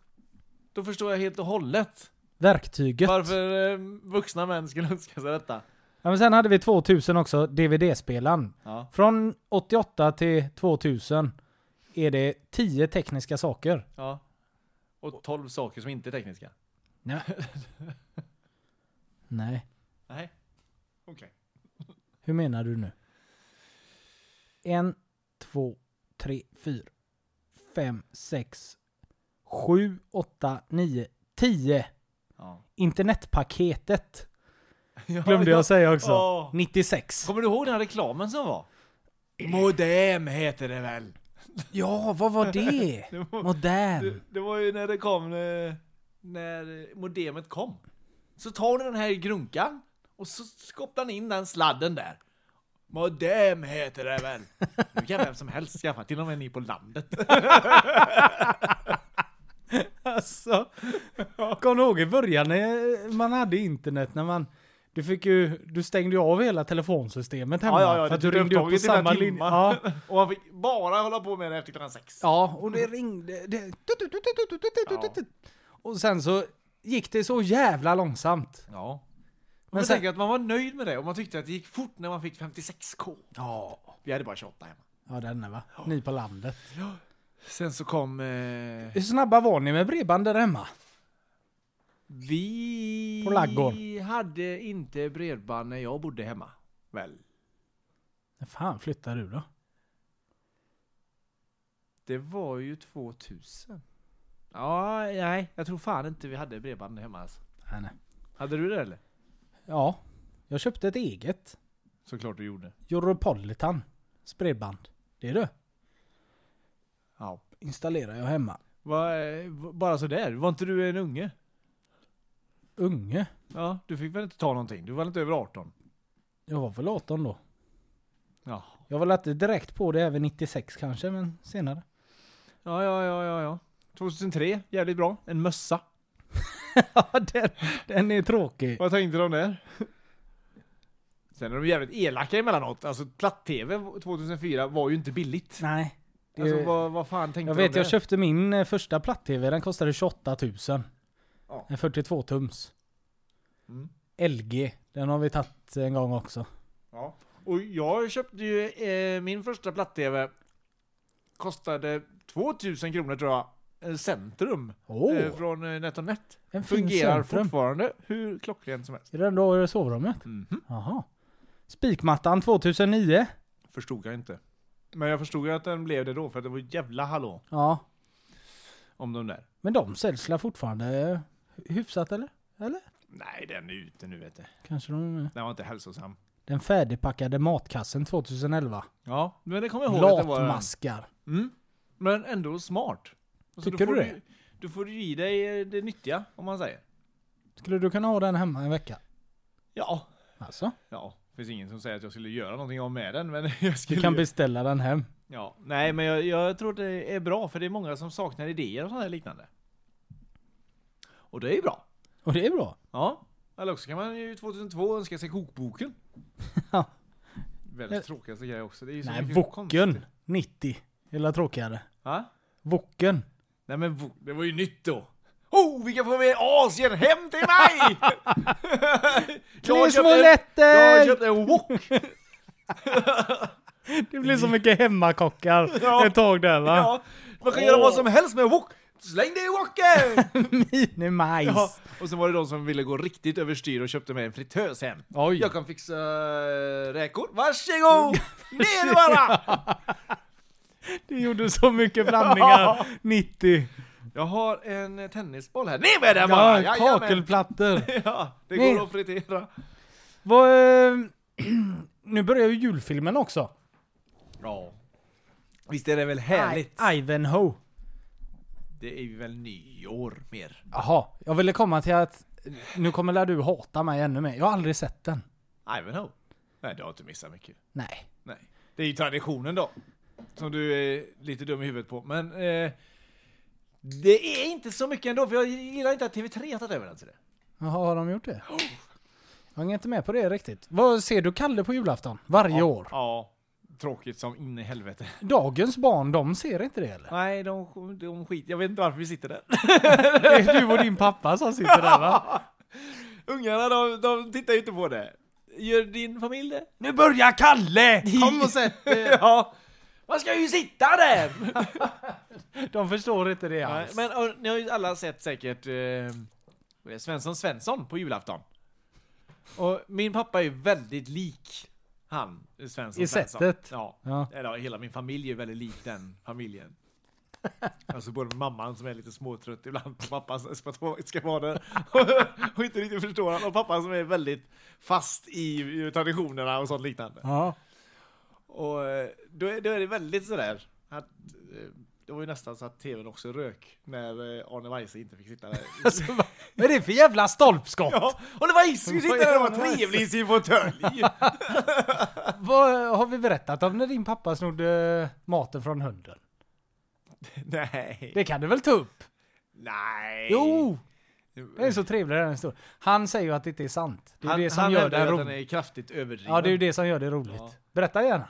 Speaker 2: Då förstår jag helt och hållet
Speaker 4: verktyget.
Speaker 2: varför eh, vuxna män skulle önska sig detta.
Speaker 4: Ja, men sen hade vi 2000 också, DVD-spelaren.
Speaker 2: Ja.
Speaker 4: Från 88 till 2000 är det 10 tekniska saker.
Speaker 2: ja. Och 12 saker som inte är tekniska.
Speaker 4: Nej. Nej.
Speaker 2: Nej. Okej.
Speaker 4: Hur menar du nu? En, två, tre, fyra, fem, sex, sju, åtta, nio, tio.
Speaker 2: Ja.
Speaker 4: Internetpaketet glömde jag säga också.
Speaker 2: Ja.
Speaker 4: 96.
Speaker 2: Kommer du ihåg den här reklamen som var? Modem heter det väl?
Speaker 4: Ja, vad var *laughs* det? Modern.
Speaker 2: Det, det var ju när det kom, eh, när modemet kom. Så tar du den här grunkan och så kopplar ni in den sladden där. Modem heter det *laughs* väl? Nu kan vem som helst skaffa, till och med ni på landet.
Speaker 4: Alltså, kom du ihåg i början när man hade internet när man du fick ju, du stängde ju av hela telefonsystemet hemma.
Speaker 2: Ja, ja, ja.
Speaker 4: för att
Speaker 2: det
Speaker 4: du ringde upp på samma linje. Ja,
Speaker 2: Ja. *laughs* Och man fick bara hålla på med det efter klockan sex.
Speaker 4: ja, och det ringde. Det, Och sen så gick det så jävla långsamt.
Speaker 2: Ja. Men
Speaker 4: Men
Speaker 2: jag
Speaker 4: sen-
Speaker 2: tänker att man var nöjd med det och man tyckte att det gick fort när man fick 56k.
Speaker 4: Ja,
Speaker 2: Vi hade bara 28 hemma.
Speaker 4: ja den där va. Ni på landet.
Speaker 2: Sen så kom... Eh,
Speaker 4: Hur snabba var ni med bredband där hemma?
Speaker 2: vi
Speaker 4: På laggården.
Speaker 2: hade inte bredband när jag bodde hemma. Väl?
Speaker 4: När fan flyttade du då?
Speaker 2: Det var ju 2000. Ja, nej. Jag tror fan inte vi hade bredband hemma alltså.
Speaker 4: Nej, nej.
Speaker 2: Hade du det eller?
Speaker 4: Ja, jag köpte ett eget.
Speaker 2: Såklart du gjorde.
Speaker 4: Europolitan. Bredband. Det är du.
Speaker 2: Ja.
Speaker 4: Installerar jag hemma.
Speaker 2: Va, eh, va- bara sådär. Var inte du en unge?
Speaker 4: Unge.
Speaker 2: Ja, du fick väl inte ta någonting? Du var väl inte över 18?
Speaker 4: Jag var väl 18 då.
Speaker 2: Ja.
Speaker 4: Jag var väl inte direkt på det även 96 kanske, men
Speaker 2: *laughs*
Speaker 4: senare.
Speaker 2: Ja, ja, ja, ja, ja. 2003, jävligt bra. En mössa.
Speaker 4: Ja, den, den är tråkig.
Speaker 2: Vad tänkte de där? Sen är de jävligt elaka emellanåt. Alltså platt-tv 2004 var ju inte billigt.
Speaker 4: Nej. Det,
Speaker 2: Alltså vad, vad fan tänkte
Speaker 4: jag
Speaker 2: de
Speaker 4: vet,
Speaker 2: där?
Speaker 4: jag köpte min eh, första platt-tv. Den kostade 28 000.
Speaker 2: Ja.
Speaker 4: En 42 tums.
Speaker 2: Mm. Eh,
Speaker 4: LG. Den har vi tagit en gång också.
Speaker 2: Ja. Och jag köpte ju eh, min första platt-tv. Kostade 2000 kronor tror jag. Eh, Centrum.
Speaker 4: Åh!
Speaker 2: Eh, från eh, NetOnNet.
Speaker 4: en fin
Speaker 2: Fungerar
Speaker 4: centrum.
Speaker 2: fortfarande hur klockrent som helst.
Speaker 4: Är den då i sovrummet?
Speaker 2: Mhm.
Speaker 4: Jaha. Spikmattan 2009.
Speaker 2: Förstod jag inte. Men jag förstod ju att den blev det då för att det var jävla hallå
Speaker 4: Ja.
Speaker 2: om de där.
Speaker 4: Men de säljs väl fortfarande eh, hyfsat eller? Eller?
Speaker 2: Nej, den är ute nu vet du.
Speaker 4: Kanske de...
Speaker 2: Den var inte hälsosam.
Speaker 4: Den färdigpackade matkassen 2011.
Speaker 2: Ja, men det kommer jag ihåg att det var.
Speaker 4: Latmaskar.
Speaker 2: Mm. Men ändå smart. Alltså,
Speaker 4: Tycker
Speaker 2: då får
Speaker 4: du
Speaker 2: Du, då får du i dig eh, det nyttiga, om man säger.
Speaker 4: Skulle du kunna ha den hemma en vecka?
Speaker 2: Ja.
Speaker 4: Alltså?
Speaker 2: Ja, det finns ingen som säger att jag skulle göra någonting av med den, men *laughs* jag skulle...
Speaker 4: Du kan beställa den hem.
Speaker 2: ja. Nej, men jag, jag tror det är bra, för det är många som saknar idéer och sånt här liknande. Och det är ju bra.
Speaker 4: Och det är bra.
Speaker 2: Ja. Eller också kan man ju 2002 önska sig kokboken.
Speaker 4: *laughs* Ja.
Speaker 2: Väldigt tråkigaste grej också. Det är ju så
Speaker 4: Nej,
Speaker 2: mycket
Speaker 4: Woken
Speaker 2: konstigt.
Speaker 4: 90. Eller tråkigare.
Speaker 2: Va?
Speaker 4: Woken.
Speaker 2: Nej men vo- det var ju nytt då. Oh, vi kan få med Asien hem till
Speaker 4: *laughs*
Speaker 2: mig! *laughs* Jag har
Speaker 4: Tre
Speaker 2: köpt
Speaker 4: små
Speaker 2: en- Jag har
Speaker 4: lätter!
Speaker 2: köpt en wok!
Speaker 4: Det blir så mycket hemmakockar
Speaker 2: *laughs* Ja.
Speaker 4: ett tag där va?
Speaker 2: Ja, man kan göra vad som helst med en wok! Släng det i woken!
Speaker 4: Minimajs.
Speaker 2: ja. Och sen var det de som ville gå riktigt överstyr och köpte med en fritös hem.
Speaker 4: Oj.
Speaker 2: Jag kan fixa eh, räkor. Varsågod! Ner bara!
Speaker 4: Det gjorde så mycket blandningar.
Speaker 2: Ja.
Speaker 4: 90.
Speaker 2: Jag har en tennisboll här. Ner med den
Speaker 4: Ja,
Speaker 2: bara! Jajamän.
Speaker 4: kakelplattor.
Speaker 2: Ja, det
Speaker 4: Ner.
Speaker 2: går att fritera.
Speaker 4: Vad... eh, *clears throat* nu börjar ju julfilmen också.
Speaker 2: Ja. Visst är det väl härligt?
Speaker 4: I- Ivanhoe.
Speaker 2: Det är ju väl nyår mer.
Speaker 4: Jaha, jag ville komma till att nu kommer lär du hata mig ännu mer. Jag har aldrig sett den.
Speaker 2: Ivanhoe? Nej, det har inte missat mycket.
Speaker 4: Nej.
Speaker 2: Nej. Det är ju traditionen då. Som du är lite dum i huvudet på. Men eh, det är inte så mycket ändå, för jag gillar inte att TV3 har tagit över den till det.
Speaker 4: Jaha, har de gjort det? Jag hänger inte med på det riktigt. Vad ser du Kalle på julafton? Varje år.
Speaker 2: Ja. Tråkigt som in i helvete.
Speaker 4: Dagens barn, de ser inte det eller?
Speaker 2: Nej, de, de skit. Jag vet inte varför vi sitter där.
Speaker 4: Det är du och din pappa som sitter där va?
Speaker 2: *laughs* Ungarna, de, de tittar ju inte på det. Gör din familj det?
Speaker 4: Nu börjar Kalle! Kom och
Speaker 2: *laughs*
Speaker 4: sätt dig!
Speaker 2: Ja. Man ska ju sitta *laughs* där!
Speaker 4: De förstår inte det alls.
Speaker 2: Men och, ni har ju alla sett säkert eh, Svensson Svensson på julafton. Och min pappa är ju väldigt lik han, Svensson
Speaker 4: I
Speaker 2: Svensson.
Speaker 4: sättet.
Speaker 2: Ja.
Speaker 4: Ja.
Speaker 2: Eller, ja, hela min familj är väldigt lik den
Speaker 4: *laughs*
Speaker 2: familjen. Alltså både mamman som är lite småtrött ibland och pappan som ska ta- ska
Speaker 4: *laughs*
Speaker 2: vara där och inte riktigt förstår han och pappan som är väldigt fast i i traditionerna och sånt liknande.
Speaker 4: Ja.
Speaker 2: Och eh, då är, då är det väldigt sådär att eh, det var ju nästan så att tvn också rök när eh, Arne Weise inte
Speaker 4: *laughs*
Speaker 2: fick sitta där.
Speaker 4: Vad är det för jävla stolpskott?
Speaker 2: ja, Arne Weise fick sitta där och vara trevlig i
Speaker 4: *laughs*
Speaker 2: sin fåtölj!
Speaker 4: Vad har vi berättat om när din pappa snodde maten från hunden?
Speaker 2: Nej,
Speaker 4: Det kan du väl ta upp?
Speaker 2: Nej!
Speaker 4: Jo! Det är så trevlig den historien. Han säger ju att det inte är sant. Det är
Speaker 2: han,
Speaker 4: det som
Speaker 2: han
Speaker 4: gör
Speaker 2: hävdar ju
Speaker 4: det
Speaker 2: att den
Speaker 4: roligt.
Speaker 2: är kraftigt överdriven.
Speaker 4: Ja, det är ju det som gör det roligt.
Speaker 2: Ja.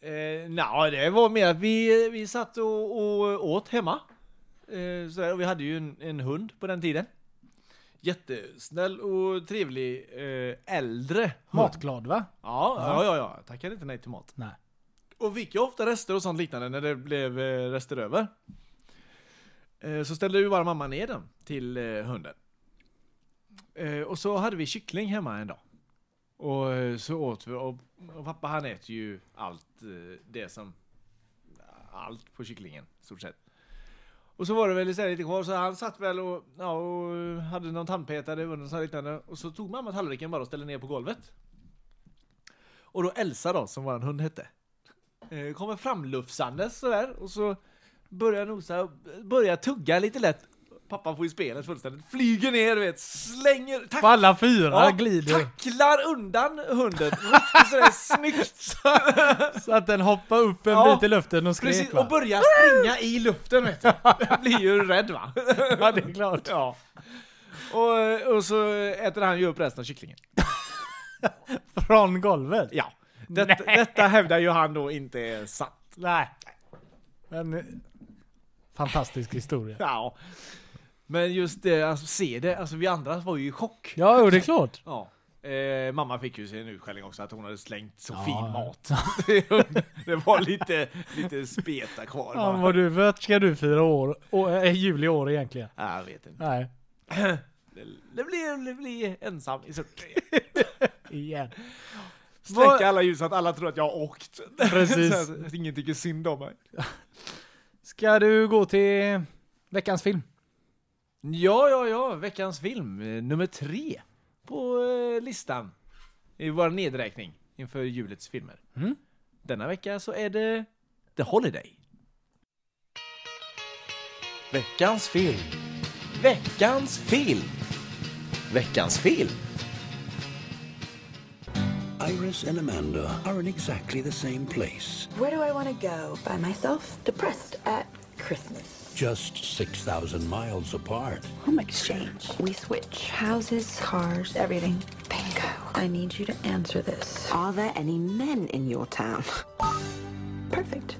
Speaker 2: Eh, Nja, det var mer att vi, vi satt och, och åt hemma. Eh, sådär, och vi hade ju en, en hund på den tiden. Jättesnäll och trevlig eh, äldre hund.
Speaker 4: Matglad va?
Speaker 2: Ja, ja, ja, ja. Tackade inte nej till mat.
Speaker 4: Nej.
Speaker 2: Och fick ju ofta rester och sånt liknande när det blev eh, rester över. Eh, Så ställde ju bara mamma ner den till eh, hunden. Eh, Och så hade vi kyckling hemma en dag. Och eh, så åt vi, och och pappa han äter ju allt eh, det som, allt på kycklingen i stort sett. Och så var det väl så här lite kvar, så han satt väl och, ja, och eh, hade någon tandpetare under och så här liknande. Och så tog mamma tallriken bara och ställde ner på golvet. Och då Elsa då, som våran hund hette. Eh, kommer framlufsandes sådär och så börjar nosa, börjar tugga lite lätt. Pappa får ju spelet fullständigt, flyger ner du vet, slänger, tack,
Speaker 4: På alla fyra
Speaker 2: ja,
Speaker 4: glider.
Speaker 2: tacklar undan hunden. Riktigt sådär *laughs* snyggt.
Speaker 4: Så att den hoppar upp en
Speaker 2: Ja,
Speaker 4: bit i luften och skrek
Speaker 2: Precis,
Speaker 4: va?
Speaker 2: och börjar springa i luften vet du. Jag blir ju rädd va.
Speaker 4: Ja, det är klart.
Speaker 2: Ja. Och, och så äter han ju upp resten av kycklingen.
Speaker 4: Från golvet.
Speaker 2: Ja. Det, detta hävdar ju han då inte är sant.
Speaker 4: Nej. Men, eh, fantastisk historia.
Speaker 2: Ja. Men just det, alltså se det, alltså vi andra var ju i chock.
Speaker 4: Ja, jo, det är klart.
Speaker 2: Ja. Eh, mamma fick ju sin utskällning också att hon hade slängt så
Speaker 4: Ja.
Speaker 2: fin mat. *laughs* Det- det var lite, lite speta kvar.
Speaker 4: Ja, men
Speaker 2: bara.
Speaker 4: vad du, vad ska du fira år, å- eh, jul i år egentligen?
Speaker 2: Ja, jag vet inte.
Speaker 4: Nej,
Speaker 2: Det, det, blir, det blir ensam i Surte.
Speaker 4: igen. Vad-
Speaker 2: Släcka alla ljus så att alla tror att jag har åkt.
Speaker 4: Precis.
Speaker 2: *laughs* så att ingen tycker synd om mig.
Speaker 4: Ska du gå till veckans film?
Speaker 2: Ja, ja, ja. Veckans film, eh, nummer tre på eh, listan i vår nedräkning inför julets filmer.
Speaker 4: Mm.
Speaker 2: Denna vecka så är det The Holiday.
Speaker 6: Veckans film. Veckans film. Veckans film.
Speaker 7: Iris and Amanda are in exactly the same place,
Speaker 8: Where do I want to go by myself, depressed at Christmas?
Speaker 7: just 6,000 miles apart.
Speaker 8: Home exchange. We switch houses, cars, everything. Bingo. I need you to answer this.
Speaker 9: Are there any men in your town?
Speaker 8: Perfect.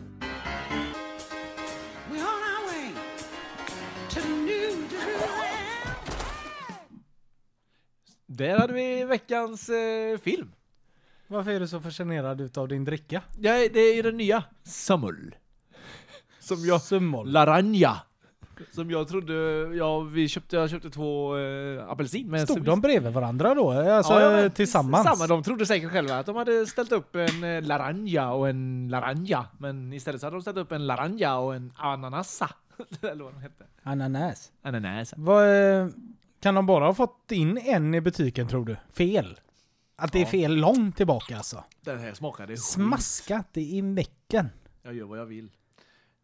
Speaker 2: Där hade vi veckans eh, film.
Speaker 4: Varför är du så fascinerad utav din dricka?
Speaker 2: Ja, det är den nya. Samuel. Som jag...
Speaker 4: Summol.
Speaker 2: Laranja. Som jag trodde... Ja, vi köpte, jag köpte två eh, apelsin. Men
Speaker 4: Stod de bredvid varandra då? Alltså
Speaker 2: Ja, ja,
Speaker 4: eh, tillsammans?
Speaker 2: Samma, de trodde säkert själva att de hade ställt upp en eh, laranja och en laranja. Men istället så hade de ställt upp en laranja och en ananassa. *laughs* Eller vad de hette.
Speaker 4: Ananas.
Speaker 2: Ananasa.
Speaker 4: Vad, eh, kan de bara ha fått in en i butiken tror du? Fel. Att det är fel långt tillbaka alltså.
Speaker 2: Den här smakade skit.
Speaker 4: Smaskat det i mäcken.
Speaker 2: Jag gör vad jag vill.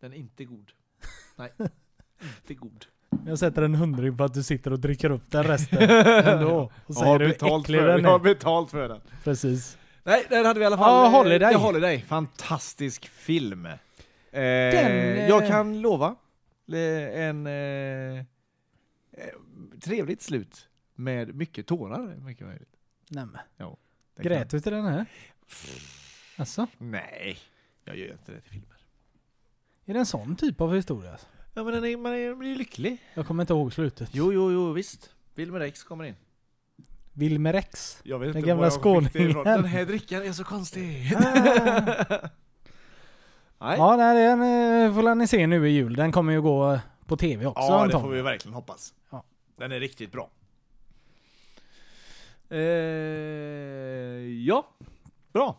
Speaker 2: Den är inte god.
Speaker 4: *laughs*
Speaker 2: Nej. inte god.
Speaker 4: Jag sätter en hundring på att du sitter och dricker upp den
Speaker 2: *laughs*
Speaker 4: resten ändå. Och säger hur äcklig den är.
Speaker 2: betalt för den.
Speaker 4: Precis.
Speaker 2: Nej, den hade vi i alla fall.
Speaker 4: Ja,
Speaker 2: eh,
Speaker 4: Holiday.
Speaker 2: The Holiday. Fantastisk film. Eh,
Speaker 4: eh,
Speaker 2: Jag kan lova eh, en eh, eh, trevligt slut med mycket tårar. Mycket möjligt.
Speaker 4: Nämen.
Speaker 2: Ja, det kan-
Speaker 4: Grät du till den här? Alltså,
Speaker 2: Nej, jag gör inte det till filmer.
Speaker 4: är det en sån typ av historia? alltså?
Speaker 2: Ja, men den är, man, är, man blir ju lycklig.
Speaker 4: Jag kommer inte ihåg slutet.
Speaker 2: Jo, jo, jo, visst. Wilmer X kommer in.
Speaker 4: Wilmer X.
Speaker 2: Jag vet
Speaker 4: Den gamla skåningen.
Speaker 2: Den här drickan är så konstig. Nej.
Speaker 4: Ja, nej, den eh, får ni se nu i jul. Den kommer ju gå eh, på tv också
Speaker 2: Ja, det
Speaker 4: antagligen.
Speaker 2: får vi verkligen hoppas.
Speaker 4: Ja.
Speaker 2: Den är riktigt bra. Eh, ja, bra.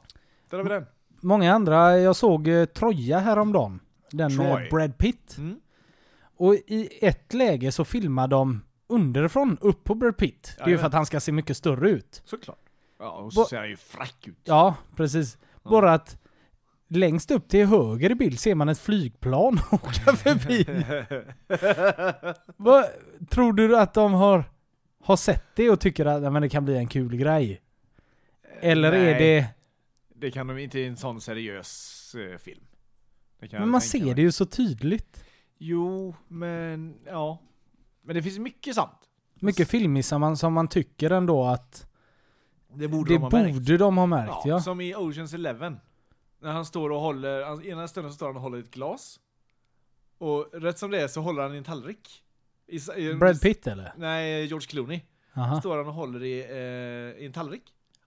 Speaker 2: Där har vi den.
Speaker 4: Många andra, jag såg eh, Troja häromdagen. Den
Speaker 2: Troy.
Speaker 4: med Brad Pitt.
Speaker 2: Mm.
Speaker 4: Och i ett läge så filmar de underifrån upp på Brad Pitt. Det är ju
Speaker 2: Jajamän.
Speaker 4: för att han ska se mycket större ut.
Speaker 2: Såklart. Ja, och
Speaker 4: Bo-
Speaker 2: så ser han ju frack ut.
Speaker 4: Ja, precis.
Speaker 2: Ja.
Speaker 4: Bara att längst upp till höger i bild ser man ett flygplan *laughs* åka
Speaker 2: *laughs*
Speaker 4: förbi. Vad, tror du att de har, har sett det och tycker att "Ja, men det kan bli en kul grej? Eller är
Speaker 2: nej.
Speaker 4: det...
Speaker 2: Det kan de inte i en sån seriös eh, film. Det kan jag
Speaker 4: Men man
Speaker 2: tänka
Speaker 4: ser
Speaker 2: mig.
Speaker 4: det ju så tydligt.
Speaker 2: Jo, men ja. Men det finns mycket sant.
Speaker 4: Mycket filmissar man som man tycker ändå att
Speaker 2: Det borde
Speaker 4: det
Speaker 2: de ha märkt.
Speaker 4: borde de ha märkt
Speaker 2: Ja,
Speaker 4: ja.
Speaker 2: Som i Oceans Eleven. När han står och håller, han- ena stunden så står han och håller ett glas. Och rätt som det är så håller han i en tallrik. I, s- i en-
Speaker 4: Brad Pitt eller?
Speaker 2: Nej, George Clooney.
Speaker 4: Aha.
Speaker 2: Står han och håller i, eh, i en tallrik.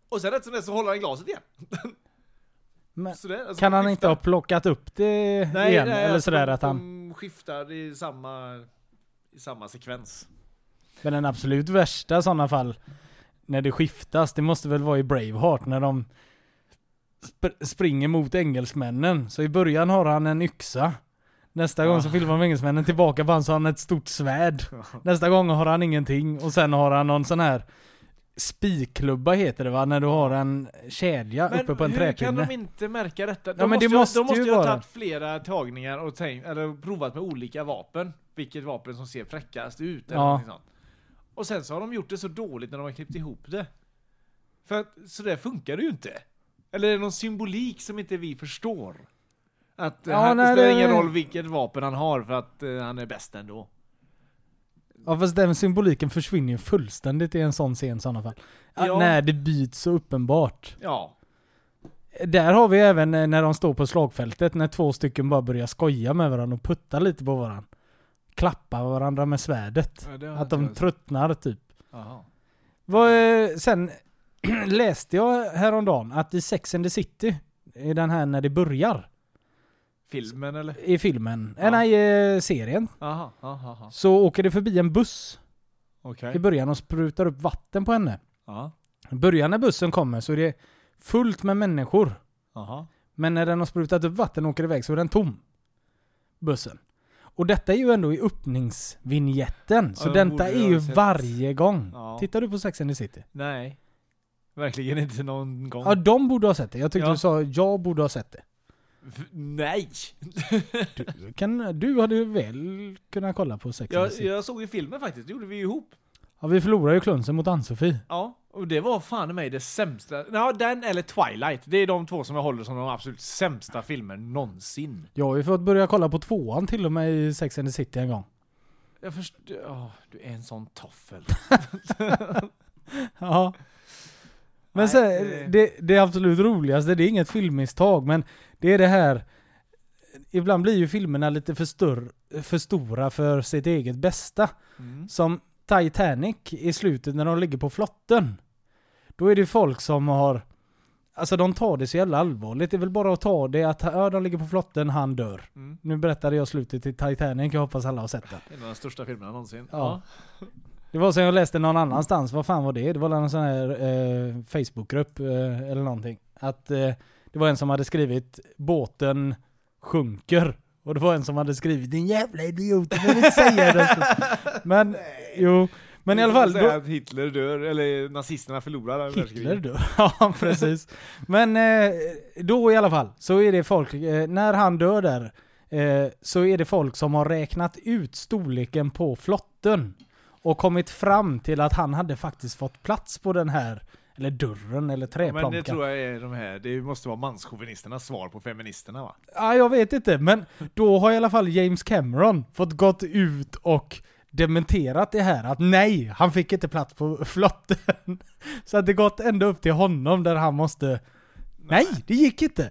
Speaker 2: Och sen rätt som det är så håller han i glaset igen.
Speaker 4: Men
Speaker 2: Så det, alltså,
Speaker 4: kan
Speaker 2: de
Speaker 4: han inte
Speaker 2: skiftar.
Speaker 4: ha plockat upp det
Speaker 2: Nej,
Speaker 4: igen?
Speaker 2: nej,
Speaker 4: eller
Speaker 2: alltså,
Speaker 4: sådär
Speaker 2: de,
Speaker 4: att han...
Speaker 2: De skiftar i samma, i samma sekvens.
Speaker 4: Men den absolut värsta i sådana fall, när det skiftas, det måste väl vara i Braveheart när de sp- springer mot engelsmännen. Så i början har han en yxa. Nästa gång
Speaker 2: Ah.
Speaker 4: så filmar de engelsmännen tillbaka på honom så har han ett stort
Speaker 2: *laughs*
Speaker 4: svärd. Nästa gång har han ingenting och sen har han någon sån här spikklubba heter det va? När du har en kedja uppe på en
Speaker 2: hur kan de
Speaker 4: träpinne.
Speaker 2: inte märka detta? De
Speaker 4: Ja, men
Speaker 2: måste,
Speaker 4: det
Speaker 2: ju-
Speaker 4: måste
Speaker 2: de måste
Speaker 4: ju
Speaker 2: ju ha
Speaker 4: vara-
Speaker 2: tagit flera tagningar och tänkt, eller provat med olika vapen. Vilket vapen som ser fräckast ut eller
Speaker 4: Ja.
Speaker 2: någonting sånt. Och sen så har de gjort det så dåligt när de har klippt ihop det. För att så där funkar det ju inte. Eller är det någon symbolik som inte vi förstår? Att eh,
Speaker 4: Ja,
Speaker 2: han,
Speaker 4: nej,
Speaker 2: det spelar
Speaker 4: det-
Speaker 2: ingen roll vilket vapen han har för att eh, han är bäst ändå.
Speaker 4: Ja fast den symboliken försvinner ju fullständigt i en sån scen i sådana fall. Att
Speaker 2: Ja.
Speaker 4: När det byts så uppenbart.
Speaker 2: Ja.
Speaker 4: Där har vi även eh, när de står på slagfältet, när två stycken bara börjar skoja med varandra och putta lite på varandra. Klappa varandra med svärdet.
Speaker 2: Ja, det har
Speaker 4: att
Speaker 2: inte
Speaker 4: de
Speaker 2: jag-
Speaker 4: tröttnar typ.
Speaker 2: Aha.
Speaker 4: Vad, eh, sen *clears throat* läste jag häromdagen att i Sex and the City, i den här när det börjar,
Speaker 2: Filmen eller?
Speaker 4: i filmen,
Speaker 2: Ja.
Speaker 4: eh, nej, eh, serien,
Speaker 2: Aha, aha, aha.
Speaker 4: så åker det förbi en buss
Speaker 2: Okej.
Speaker 4: i början och sprutar upp vatten på henne.
Speaker 2: Ja.
Speaker 4: I början när bussen kommer så är det fullt med människor.
Speaker 2: Aha.
Speaker 4: Men när den har sprutat upp vatten och åker iväg så är den tom. Bussen. Och detta är ju ändå i öppningsvinjetten. Så
Speaker 2: Ja, den
Speaker 4: detta
Speaker 2: borde
Speaker 4: är
Speaker 2: jag
Speaker 4: ju
Speaker 2: ha sett.
Speaker 4: varje gång.
Speaker 2: Ja.
Speaker 4: Tittar du på Sex and the City?
Speaker 2: Nej. Verkligen inte någon gång.
Speaker 4: Ja, de borde ha sett det. Jag tyckte
Speaker 2: Ja.
Speaker 4: du sa jag borde ha sett det.
Speaker 2: V- Nej!
Speaker 4: Du, kan, du hade ju väl kunnat kolla på Sex and
Speaker 2: Jag,
Speaker 4: the City.
Speaker 2: jag såg ju filmen faktiskt, det gjorde vi ju ihop.
Speaker 4: Ja, vi förlorade ju klunsen mot Ann-Sofie.
Speaker 2: Ja, och det var fan i mig det sämsta. Ja, den eller Twilight. Det är de två som jag håller som de absolut sämsta filmer någonsin.
Speaker 4: Jag har ju fått börja kolla på tvåan till och med i Sex and the City en gång.
Speaker 2: Jag förstår... åh, du är en sån toffel.
Speaker 4: Ja. Men
Speaker 2: Nej,
Speaker 4: sen,
Speaker 2: det-
Speaker 4: det, det absolut roligaste, det är inget filmmisstag, men det är det här... Ibland blir ju filmerna lite för, störr, för stora för sitt eget bästa.
Speaker 2: Mm.
Speaker 4: Som Titanic i slutet när de ligger på flotten. Då är det folk som har... Alltså de tar det så jävla allvarligt. Det är väl bara att ta det att ja, de ligger på flotten, han dör.
Speaker 2: Mm.
Speaker 4: Nu berättade jag slutet till Titanic, jag hoppas alla har sett den.
Speaker 2: En av de största filmerna någonsin.
Speaker 4: Ja. Det var som jag läste någon annanstans, vad fan var det? Det var någon sån här eh, Facebookgrupp eh, eller någonting. Att eh, det var en som hade skrivit båten sjunker. Och det var en som hade skrivit din jävla idiot, du behöver inte säga det. Men jo, men i alla fall. Då,
Speaker 2: att Hitler dör, eller nazisterna förlorar det här
Speaker 4: Hitler
Speaker 2: världskriget.
Speaker 4: då? *laughs* ja, precis. Men eh, då i alla fall, så är det folk, eh, när han dör där, eh, så är det folk som har räknat ut storleken på flotten och kommit fram till att han hade faktiskt fått plats på den här, eller dörren eller
Speaker 2: Men
Speaker 4: träplankan.
Speaker 2: det
Speaker 4: jag...
Speaker 2: tror jag är de här, det måste vara manschauvinisternas svar på feministerna va?
Speaker 4: Ja, jag vet inte, men då har i alla fall James Cameron fått gått ut och dementerat det här att nej, han fick inte plats på flotten. Så att det gått ända upp till honom där han måste Nej, det gick inte!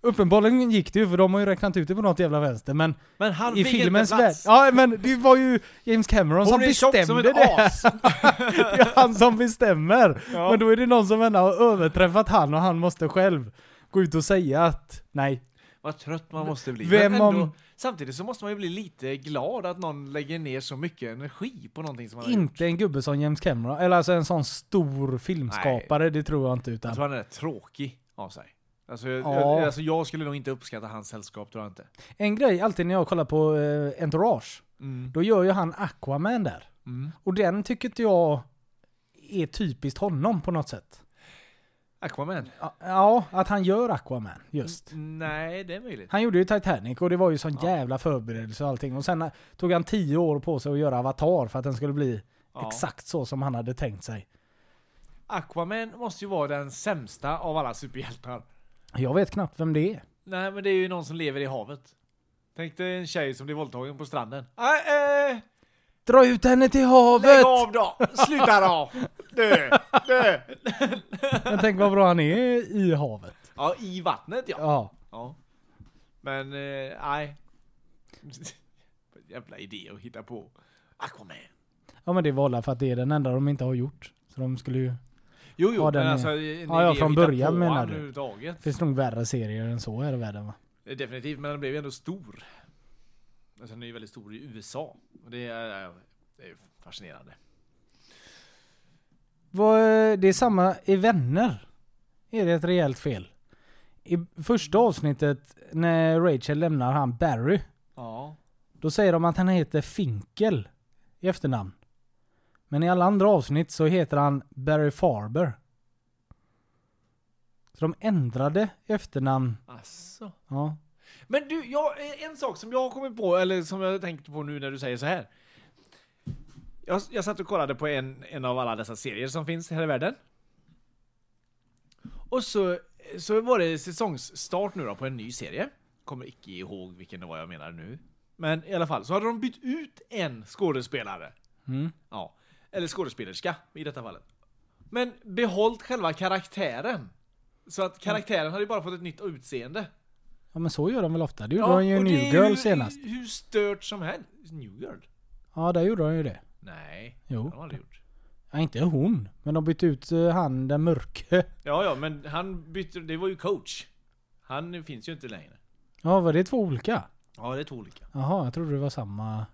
Speaker 4: Uppenbarligen gick det ju för de har ju räknat ut det på något jävla vänster men
Speaker 2: Men han
Speaker 4: i
Speaker 2: fick inte
Speaker 4: filmens värld...
Speaker 2: plats.
Speaker 4: Ja men det var ju James Cameron som
Speaker 2: Hon är tjock
Speaker 4: bestämde
Speaker 2: som
Speaker 4: *laughs*
Speaker 2: ett
Speaker 4: det!
Speaker 2: as!
Speaker 4: det är han som bestämmer!
Speaker 2: Ja.
Speaker 4: Men då är det någon som ändå har överträffat han och han måste själv gå ut och säga att nej.
Speaker 2: Vad trött man måste bli.
Speaker 4: Vem
Speaker 2: men ändå,
Speaker 4: om-
Speaker 2: Samtidigt så måste man ju bli lite glad att någon lägger ner så mycket energi på någonting som man har gjort.
Speaker 4: Inte en gubbe som James Cameron, eller alltså en sån stor filmskapare, det tror jag inte utan.
Speaker 2: Jag tror han är rätt tråkig av sig. Alltså jag,
Speaker 4: Ja.
Speaker 2: jag, alltså jag skulle nog inte uppskatta hans sällskap, tror jag inte.
Speaker 4: En grej alltid när jag kollar på eh, Entourage,
Speaker 2: Mm.
Speaker 4: då gör ju han Aquaman där. Och den tycker inte jag är typiskt honom på något sätt.
Speaker 2: Aquaman?
Speaker 4: Ja, att han gör Aquaman just.
Speaker 2: Mm. Nej, det är möjligt.
Speaker 4: Han gjorde ju Titanic och det var ju sån jävla förberedelse och allting. Och sen eh, tog han tio år på sig att göra Avatar för att den skulle bli
Speaker 2: Ja.
Speaker 4: exakt så som han hade tänkt sig.
Speaker 2: Aquaman måste ju vara den sämsta av alla superhjältar.
Speaker 4: Jag vet knappt vem det är.
Speaker 2: Nej, men det är ju någon som lever i havet. Tänk dig en tjej som blir våldtagen på stranden. Äh, äh,
Speaker 4: Dra ut henne till
Speaker 2: lägg
Speaker 4: havet!
Speaker 2: av då! Sluta då! Dö! Dö!
Speaker 4: Men tänk vad bra han är i havet.
Speaker 2: Ja, i vattnet ja.
Speaker 4: Ja.
Speaker 2: ja. Men, eh, nej. *laughs* Jävla idé att hitta på. Aquaman.
Speaker 4: Ja men det var alla för att det är den enda de inte har gjort. Så de skulle ju...
Speaker 2: Jo, jo,
Speaker 4: Ja, den
Speaker 2: men
Speaker 4: är-
Speaker 2: alltså... en
Speaker 4: Ja,
Speaker 2: idé
Speaker 4: ja,
Speaker 2: att
Speaker 4: från
Speaker 2: hitta
Speaker 4: början
Speaker 2: på
Speaker 4: menar
Speaker 2: han
Speaker 4: du.
Speaker 2: överhuvudtaget. Eh,
Speaker 4: Det finns nog värre serier än så här i världen va?
Speaker 2: Definitivt, men den blev ju ändå stor. Alltså den är ju väldigt stor i USA. Och det är, eh, det är ju fascinerande.
Speaker 4: Vad, eh, det är samma i Vänner. Är det ett rejält fel? I första avsnittet när Rachel lämnar han Barry.
Speaker 2: Ja.
Speaker 4: Då säger de att han heter Finkel i efternamn. Men i alla andra avsnitt så heter han Barry Farber. Så de ändrade efternamn.
Speaker 2: Alltså.
Speaker 4: Ja.
Speaker 2: Men du, jag, eh, en sak som jag har kommit på, eller som jag tänkte på nu när du säger så här. Jag, jag satt och kollade på en, en av alla dessa serier som finns här i världen. Och så, så var det säsongsstart nu då på en ny serie. Kommer icke ihåg vilken det var jag menar nu. Men i alla fall, så hade de bytt ut en skådespelare. Ja. Eller skådespelerska i detta fallet. Men behållt själva karaktären. Så att karaktären hade ju bara fått ett nytt utseende.
Speaker 4: ja men så gör de väl ofta. Det gjorde de ju i
Speaker 2: och
Speaker 4: New
Speaker 2: det är
Speaker 4: Girl
Speaker 2: ju
Speaker 4: senast.
Speaker 2: Hur stört som helst. New Girl?
Speaker 4: Ja där gjorde de ju det.
Speaker 2: Nej,
Speaker 4: Jo.
Speaker 2: det har de aldrig gjort.
Speaker 4: Ja, inte hon. Men de bytte ut eh, han den mörke. *laughs*
Speaker 2: Ja, ja, men han bytte, det var ju coach. Han finns ju inte längre.
Speaker 4: Ja var det två olika?
Speaker 2: Ja, det är två olika.
Speaker 4: Jaha, jag trodde det var samma.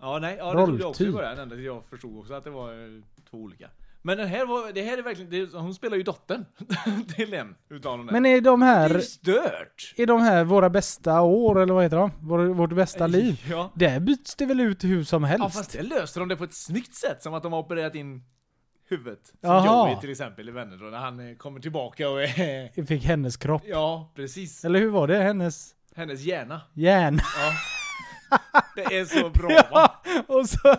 Speaker 2: Ja, nej, ja, det trodde jag också i
Speaker 4: Rolltyp.
Speaker 2: början. ända tills Jag förstod också att det var eh, två olika. Men den här var, det här är verkligen, det, hon spelar ju dottern *laughs* till en utav de där.
Speaker 4: Men är de
Speaker 2: det är ju
Speaker 4: här,
Speaker 2: stört!
Speaker 4: är de här våra bästa år eller vad heter de? Vår, vårt bästa liv?
Speaker 2: Eh, Ja.
Speaker 4: Där byts det väl ut hur som
Speaker 2: ja,
Speaker 4: helst?
Speaker 2: fast det löste de det på ett snyggt sätt. Som att de har opererat in huvudet. Som
Speaker 4: Jaha.
Speaker 2: Joey till exempel i Vänner då, när han eh, kommer tillbaka och är... *laughs*
Speaker 4: Fick hennes kropp.
Speaker 2: Ja, precis.
Speaker 4: Eller hur var det? Hennes
Speaker 2: Hennes hjärna.
Speaker 4: hjärna.
Speaker 2: Det är
Speaker 4: *laughs*
Speaker 2: så bra va?
Speaker 4: Ja, och så...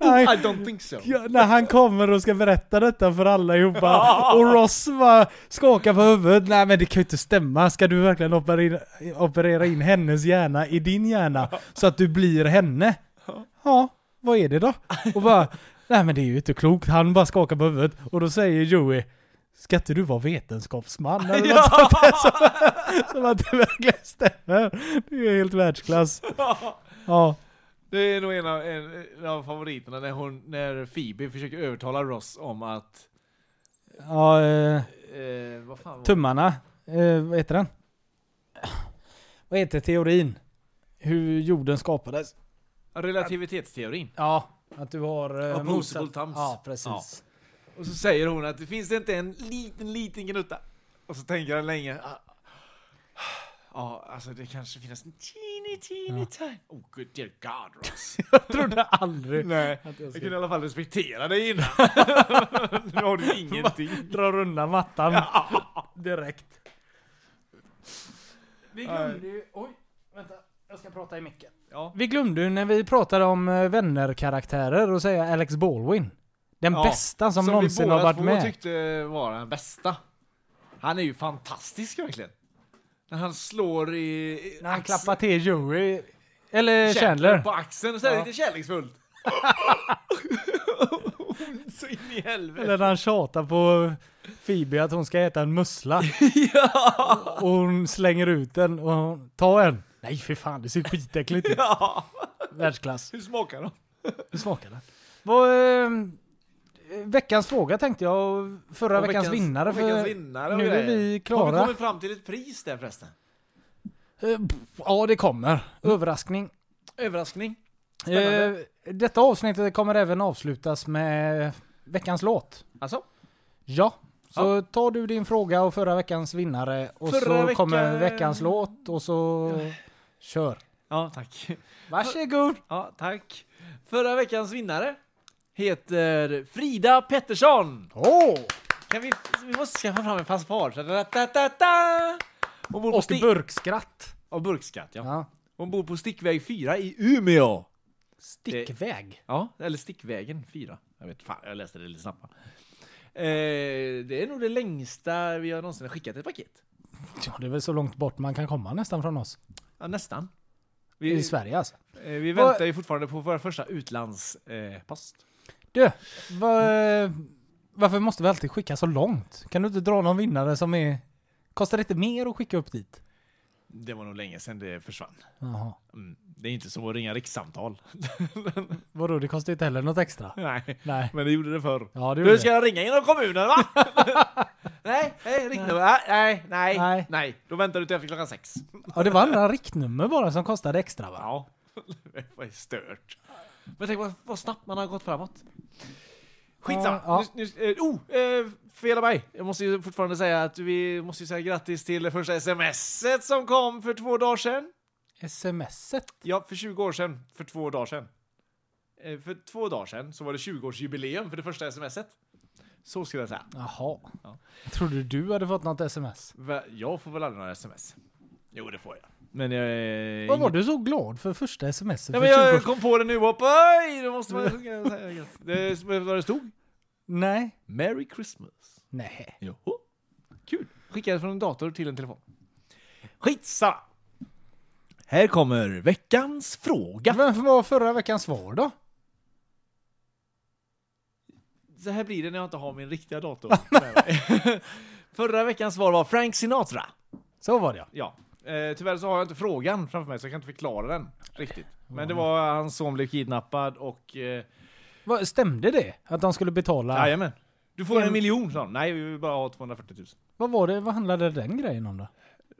Speaker 2: Oh, I
Speaker 4: Nej,
Speaker 2: don't think so.
Speaker 4: ja, när han kommer och ska berätta detta för allihopa och Ross bara skakar på huvudet. Nej men det kan ju inte stämma. Ska du verkligen operera, operera in hennes hjärna i din hjärna så att du blir henne? Ja, vad är det då? Och bara, nej men det är ju inte klokt. Han bara skakar på huvudet och då säger Joey Ska inte du vara vetenskapsman? Eller något sånt där som, som att det verkligen stämmer. Det är helt världsklass. Ja.
Speaker 2: Det är nog en av, en av favoriterna när, hon, när Phoebe försöker övertala Ross om att...
Speaker 4: Ja, eh,
Speaker 2: Eh, vad fan var det?
Speaker 4: tummarna. Eh, vad heter den? Vad heter teorin? Hur jorden skapades?
Speaker 2: Relativitetsteorin.
Speaker 4: Ja, att du har... Eh,
Speaker 2: Opposable thumbs.
Speaker 4: Ja, precis.
Speaker 2: Ja. Och så säger hon att det finns inte en liten, liten gnutta. Och så tänker han länge. ah, Ja, alltså det kanske finns en teeny, teeny tiny... Oh good dear God
Speaker 4: *laughs*
Speaker 2: Ross.
Speaker 4: Jag trodde aldrig...
Speaker 2: Nej, jag
Speaker 4: skulle-
Speaker 2: kunde i alla fall respektera
Speaker 4: *laughs*
Speaker 2: dig innan. nu har du ingenting.
Speaker 4: Drar undan mattan. Direkt. Vi glömde ju... Oj, vänta. Jag ska prata i micken.
Speaker 2: Ja.
Speaker 4: Vi glömde ju när vi pratade om eh, vänner-karaktärer och säga Alex Baldwin. Den
Speaker 2: Ja,
Speaker 4: bästa som,
Speaker 2: vi
Speaker 4: någonsin har
Speaker 2: båda
Speaker 4: varit
Speaker 2: två
Speaker 4: med.
Speaker 2: tyckte var den bästa. Han är ju fantastisk verkligen. När han slår i... i
Speaker 4: När han
Speaker 2: axeln-
Speaker 4: klappar till Joey. Eller Chandler.
Speaker 2: på axeln och så är det
Speaker 4: Ja.
Speaker 2: lite kärleksfullt. *laughs* så in i helvete.
Speaker 4: Eller när han tjatar på Phoebe att hon ska äta en
Speaker 2: *laughs*
Speaker 4: mussla. Och hon slänger ut den och hon, ta en. Nej för fan, det ser skitäckligt ut.
Speaker 2: *laughs* Ja.
Speaker 4: Världsklass.
Speaker 2: Hur smakar de?
Speaker 4: Hur smakar den? Vad, eh, veckans fråga tänkte jag. och Förra
Speaker 2: Och
Speaker 4: veckans, vinnare.
Speaker 2: och
Speaker 4: För
Speaker 2: veckans vinnare och
Speaker 4: nu är
Speaker 2: grejer.
Speaker 4: vi
Speaker 2: Har vi
Speaker 4: klara.
Speaker 2: kommit fram till ett pris där förresten?
Speaker 4: Eh, pff, Ja, det kommer. Mm. Överraskning.
Speaker 2: Överraskning.
Speaker 4: Eh, detta avsnittet kommer även avslutas med veckans låt.
Speaker 2: Alltså?
Speaker 4: Ja, så tar du din fråga och förra veckans vinnare och
Speaker 2: Förra
Speaker 4: så
Speaker 2: veckan-
Speaker 4: kommer veckans låt och så kör.
Speaker 2: Ja, tack.
Speaker 4: Varsågod!
Speaker 2: Ja, tack. Förra veckans vinnare heter Frida Pettersson.
Speaker 4: Åh!
Speaker 2: Kan vi, vi måste skaffa fram en fanfar. Så da, da, da, da. Hon bor på
Speaker 4: Och
Speaker 2: stick...
Speaker 4: burkskratt.
Speaker 2: och burkskatt, ja.
Speaker 4: Ja.
Speaker 2: Hon bor på Stickväg 4 i Umeå.
Speaker 4: Stickväg.
Speaker 2: Ja, eller Stickvägen 4. Jag vet fan, jag läste det lite snabbt. va? Eh, det är nog det längsta vi har någonsin skickat ett paket.
Speaker 4: Ja, det är väl så långt bort man kan komma nästan från oss.
Speaker 2: Ja, nästan. Vi,
Speaker 4: i Sverige alltså.
Speaker 2: eh, vi väntar ju fortfarande på våra första utlandspost. Eh, post.
Speaker 4: Du, var, varför måste vi alltid skicka så långt? Kan du inte dra någon vinnare som är... Kostar det inte mer att skicka upp dit?
Speaker 2: det var nog länge sedan det försvann.
Speaker 4: Jaha.
Speaker 2: Mm. Det är inte som att ringa rikssamtal.
Speaker 4: Vadå, det kostar inte heller något extra?
Speaker 2: *laughs* Nej,
Speaker 4: Nej.
Speaker 2: men det gjorde det förr.
Speaker 4: Ja, det
Speaker 2: Du
Speaker 4: gjorde
Speaker 2: ska jag ringa inom kommunen va? *laughs* nej, nej, riktnummer. Nej, Ah, nej, nej, nej,
Speaker 4: Nej.
Speaker 2: nej. Då väntar du till efter klockan sex.
Speaker 4: Ja, det var andra riktnummer bara som kostade extra va?
Speaker 2: Ja, *laughs* det var stört. Men tänk vad, vad snabbt man har gått framåt. Skitsamma.
Speaker 4: Ja,
Speaker 2: Nu, nu, eh, oh, eh, fel av mig. Jag måste ju fortfarande säga att vi måste ju säga grattis till det första smset som kom för två dagar sedan.
Speaker 4: Smset?
Speaker 2: Ja, för 20 år sedan. För två dagar sedan. Eh, för två dagar sedan så var det 20-årsjubileum för det första smset. Så skulle jag säga.
Speaker 4: Jaha.
Speaker 2: Ja.
Speaker 4: Jag trodde du hade fått något sms.
Speaker 2: Va- Jag får väl aldrig några sms? Jo, det får jag. Men jag är...
Speaker 4: Vad var du så glad för första sms?
Speaker 2: Nej,
Speaker 4: för
Speaker 2: men
Speaker 4: 20
Speaker 2: jag
Speaker 4: år-
Speaker 2: kom på det nu. Oj, då måste *laughs* man sjunga. och säga grattis. Det vet du vad det stod?
Speaker 4: Nej.
Speaker 2: Merry Christmas.
Speaker 4: Nej.
Speaker 2: Joho. Kul. Skickades från en dator till en telefon. Skitsamma. Här kommer veckans fråga.
Speaker 4: Vem var förra veckans svar då?
Speaker 2: Så här blir det när jag inte har min riktiga *laughs* dator med mig. Förra veckans svar var Frank Sinatra.
Speaker 4: Så var det ja.
Speaker 2: Ja. Eh, tyvärr så har jag inte frågan framför mig så jag kan inte förklara den riktigt. Men det var hans son blev kidnappad och... Eh,
Speaker 4: Vad- Stämde det? Att de skulle betala?
Speaker 2: Jajamän. Du får en miljon, sa de. Nej, vi vill bara ha 240 000.
Speaker 4: Vad var det? Vad handlade den grejen om då?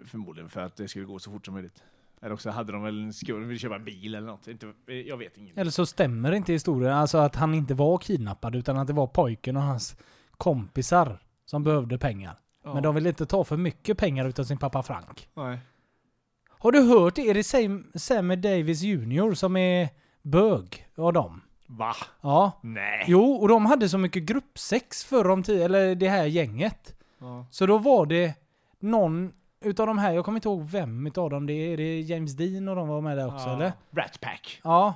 Speaker 2: Förmodligen för att det skulle gå så fort som möjligt. Eller också hade de väl en skuld, vill köpa en bil eller något. Inte, eh, jag vet inget.
Speaker 4: Eller så stämmer inte historien. Alltså att han inte var kidnappad utan att det var pojken och hans kompisar som behövde pengar. Men de ville inte ta för mycket pengar utav sin pappa Frank.
Speaker 2: Nej.
Speaker 4: Har du hört det? Är det Sam, Sammy Davis Jr som är bög av dem?
Speaker 2: Va?
Speaker 4: Ja.
Speaker 2: Nej.
Speaker 4: Jo, och de hade så mycket gruppsex förr om tiden, eller det här gänget.
Speaker 2: Ja.
Speaker 4: Så då var det någon utav de här, jag kommer inte ihåg vem utav dem det är. Är det James Dean och de var med där också eller?
Speaker 2: Rat Pack.
Speaker 4: Ja.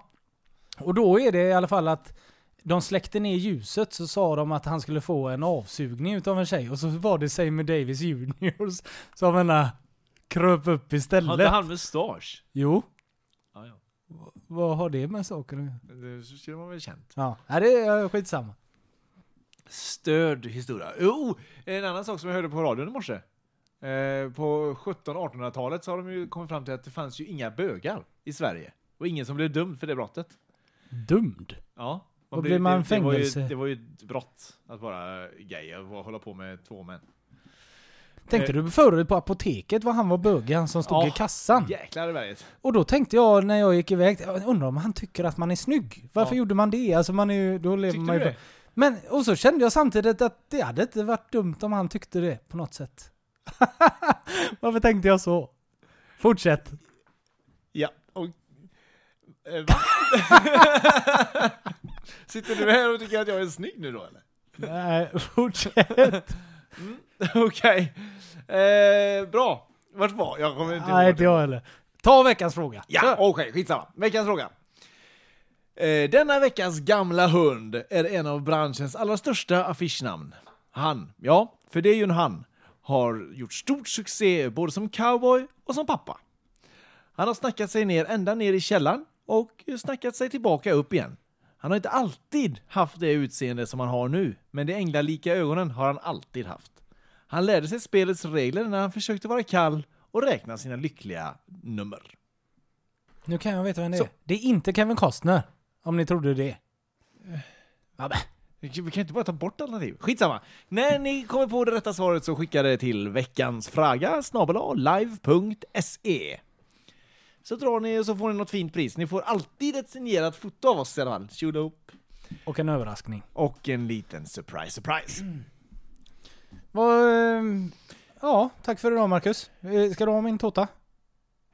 Speaker 4: Och då är det i alla fall att de släckte ner ljuset så sa de att han skulle få en avsugning utav en tjej och så var det Sammy Davis Juniors *laughs* som ena kröp upp
Speaker 2: Hade
Speaker 4: istället.
Speaker 2: han mustasch?
Speaker 4: Jo,
Speaker 2: Ja, ja.
Speaker 4: vad har det med saken att göra?
Speaker 2: Det skulle man väl känt.
Speaker 4: Ja, Nej, det är eh, skitsamma.
Speaker 2: Störd historia. Jo! En annan sak som jag hörde på radion i morse. Eh, på 1700-1800-talet så har de ju kommit fram till att det fanns ju inga bögar i Sverige. Och ingen som blev dömd för det brottet.
Speaker 4: Dumd.
Speaker 2: Ja.
Speaker 4: Då blir man
Speaker 2: det, det, var ju,
Speaker 4: fängelse.
Speaker 2: det var ju ett brott att vara gay och hålla på med två män.
Speaker 4: Tänkte du förut på apoteket vad han var bögen han som stod
Speaker 2: Eh. Ja.
Speaker 4: i kassan?
Speaker 2: Jäklar i berget.
Speaker 4: Och då tänkte jag när jag gick iväg, jag undrar om han tycker att man är snygg? Varför
Speaker 2: Ja.
Speaker 4: gjorde man det? Alltså man är ju, då lever
Speaker 2: Tyckte
Speaker 4: man ju
Speaker 2: du det?
Speaker 4: Men, och så kände jag samtidigt att det hade inte varit dumt om han tyckte det på något sätt. *laughs* Varför tänkte jag så? Fortsätt.
Speaker 2: Ja. Och, eh, va? *laughs* Sitter du här och tycker att jag är snygg nu då eller? *laughs*
Speaker 4: Nej, *laughs* fortsätt.
Speaker 2: Okej. Eh, bra. Vart var jag? kommer inte
Speaker 4: *laughs* Nej,
Speaker 2: ihåg.
Speaker 4: inte jag heller. Ta veckans fråga.
Speaker 2: Ja, okej, skitsamma. Veckans fråga. Eh, denna veckans gamla hund är en av branschens allra största affischnamn. Han, ja, för det är ju en han, har gjort stort succé både som cowboy och som pappa. Han har snackat sig ner ända ner i källaren och snackat sig tillbaka upp igen. Han har inte alltid haft det utseende som han har nu, men de änglalika ögonen har han alltid haft. Han lärde sig spelets regler när han försökte vara kall och räkna sina lyckliga nummer.
Speaker 4: Nu kan jag veta vem det
Speaker 2: Så.
Speaker 4: är. Det är inte Kevin Costner. Om ni trodde det. Vabbe.
Speaker 2: Vi kan ju inte bara ta bort alternativ. Skitsamma. När ni kommer på det rätta svaret så skicka det till veckans fraga snabel-a live.se. Så drar ni och så får ni något fint pris. Ni får alltid ett signerat foto av oss i alla fall. Tjola upp.
Speaker 4: Och en överraskning.
Speaker 2: Och en liten surprise, surprise.
Speaker 4: Vad, ehm, ja, tack för idag Marcus. Eh, Ska du ha min tårta?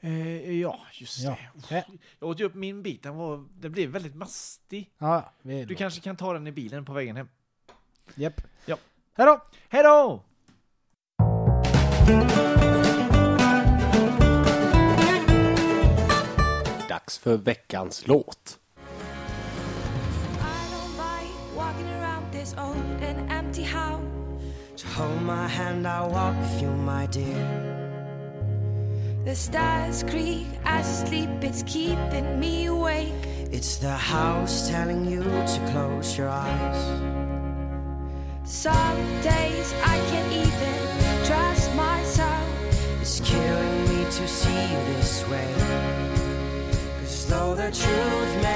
Speaker 4: Eh.
Speaker 2: Eh, ja, just
Speaker 4: Ja.
Speaker 2: det. Jag åt ju upp min bit. Den, var, den blev väldigt mastig.
Speaker 4: Ja, vi
Speaker 2: Du kanske kan ta den i bilen på vägen hem.
Speaker 4: Japp.
Speaker 2: Ja.
Speaker 4: Hej då!
Speaker 2: Hej då!
Speaker 6: Dags för veckans låt.
Speaker 10: I don't like walking around this old and empty house.
Speaker 3: To hold my hand, I'll walk with you, my dear.
Speaker 10: The stars creak as I sleep, it's keeping me awake.
Speaker 11: It's the house telling you to close your eyes.
Speaker 10: Some days I can't even trust myself.
Speaker 11: It's killing me to see you this way. Cause though the truth may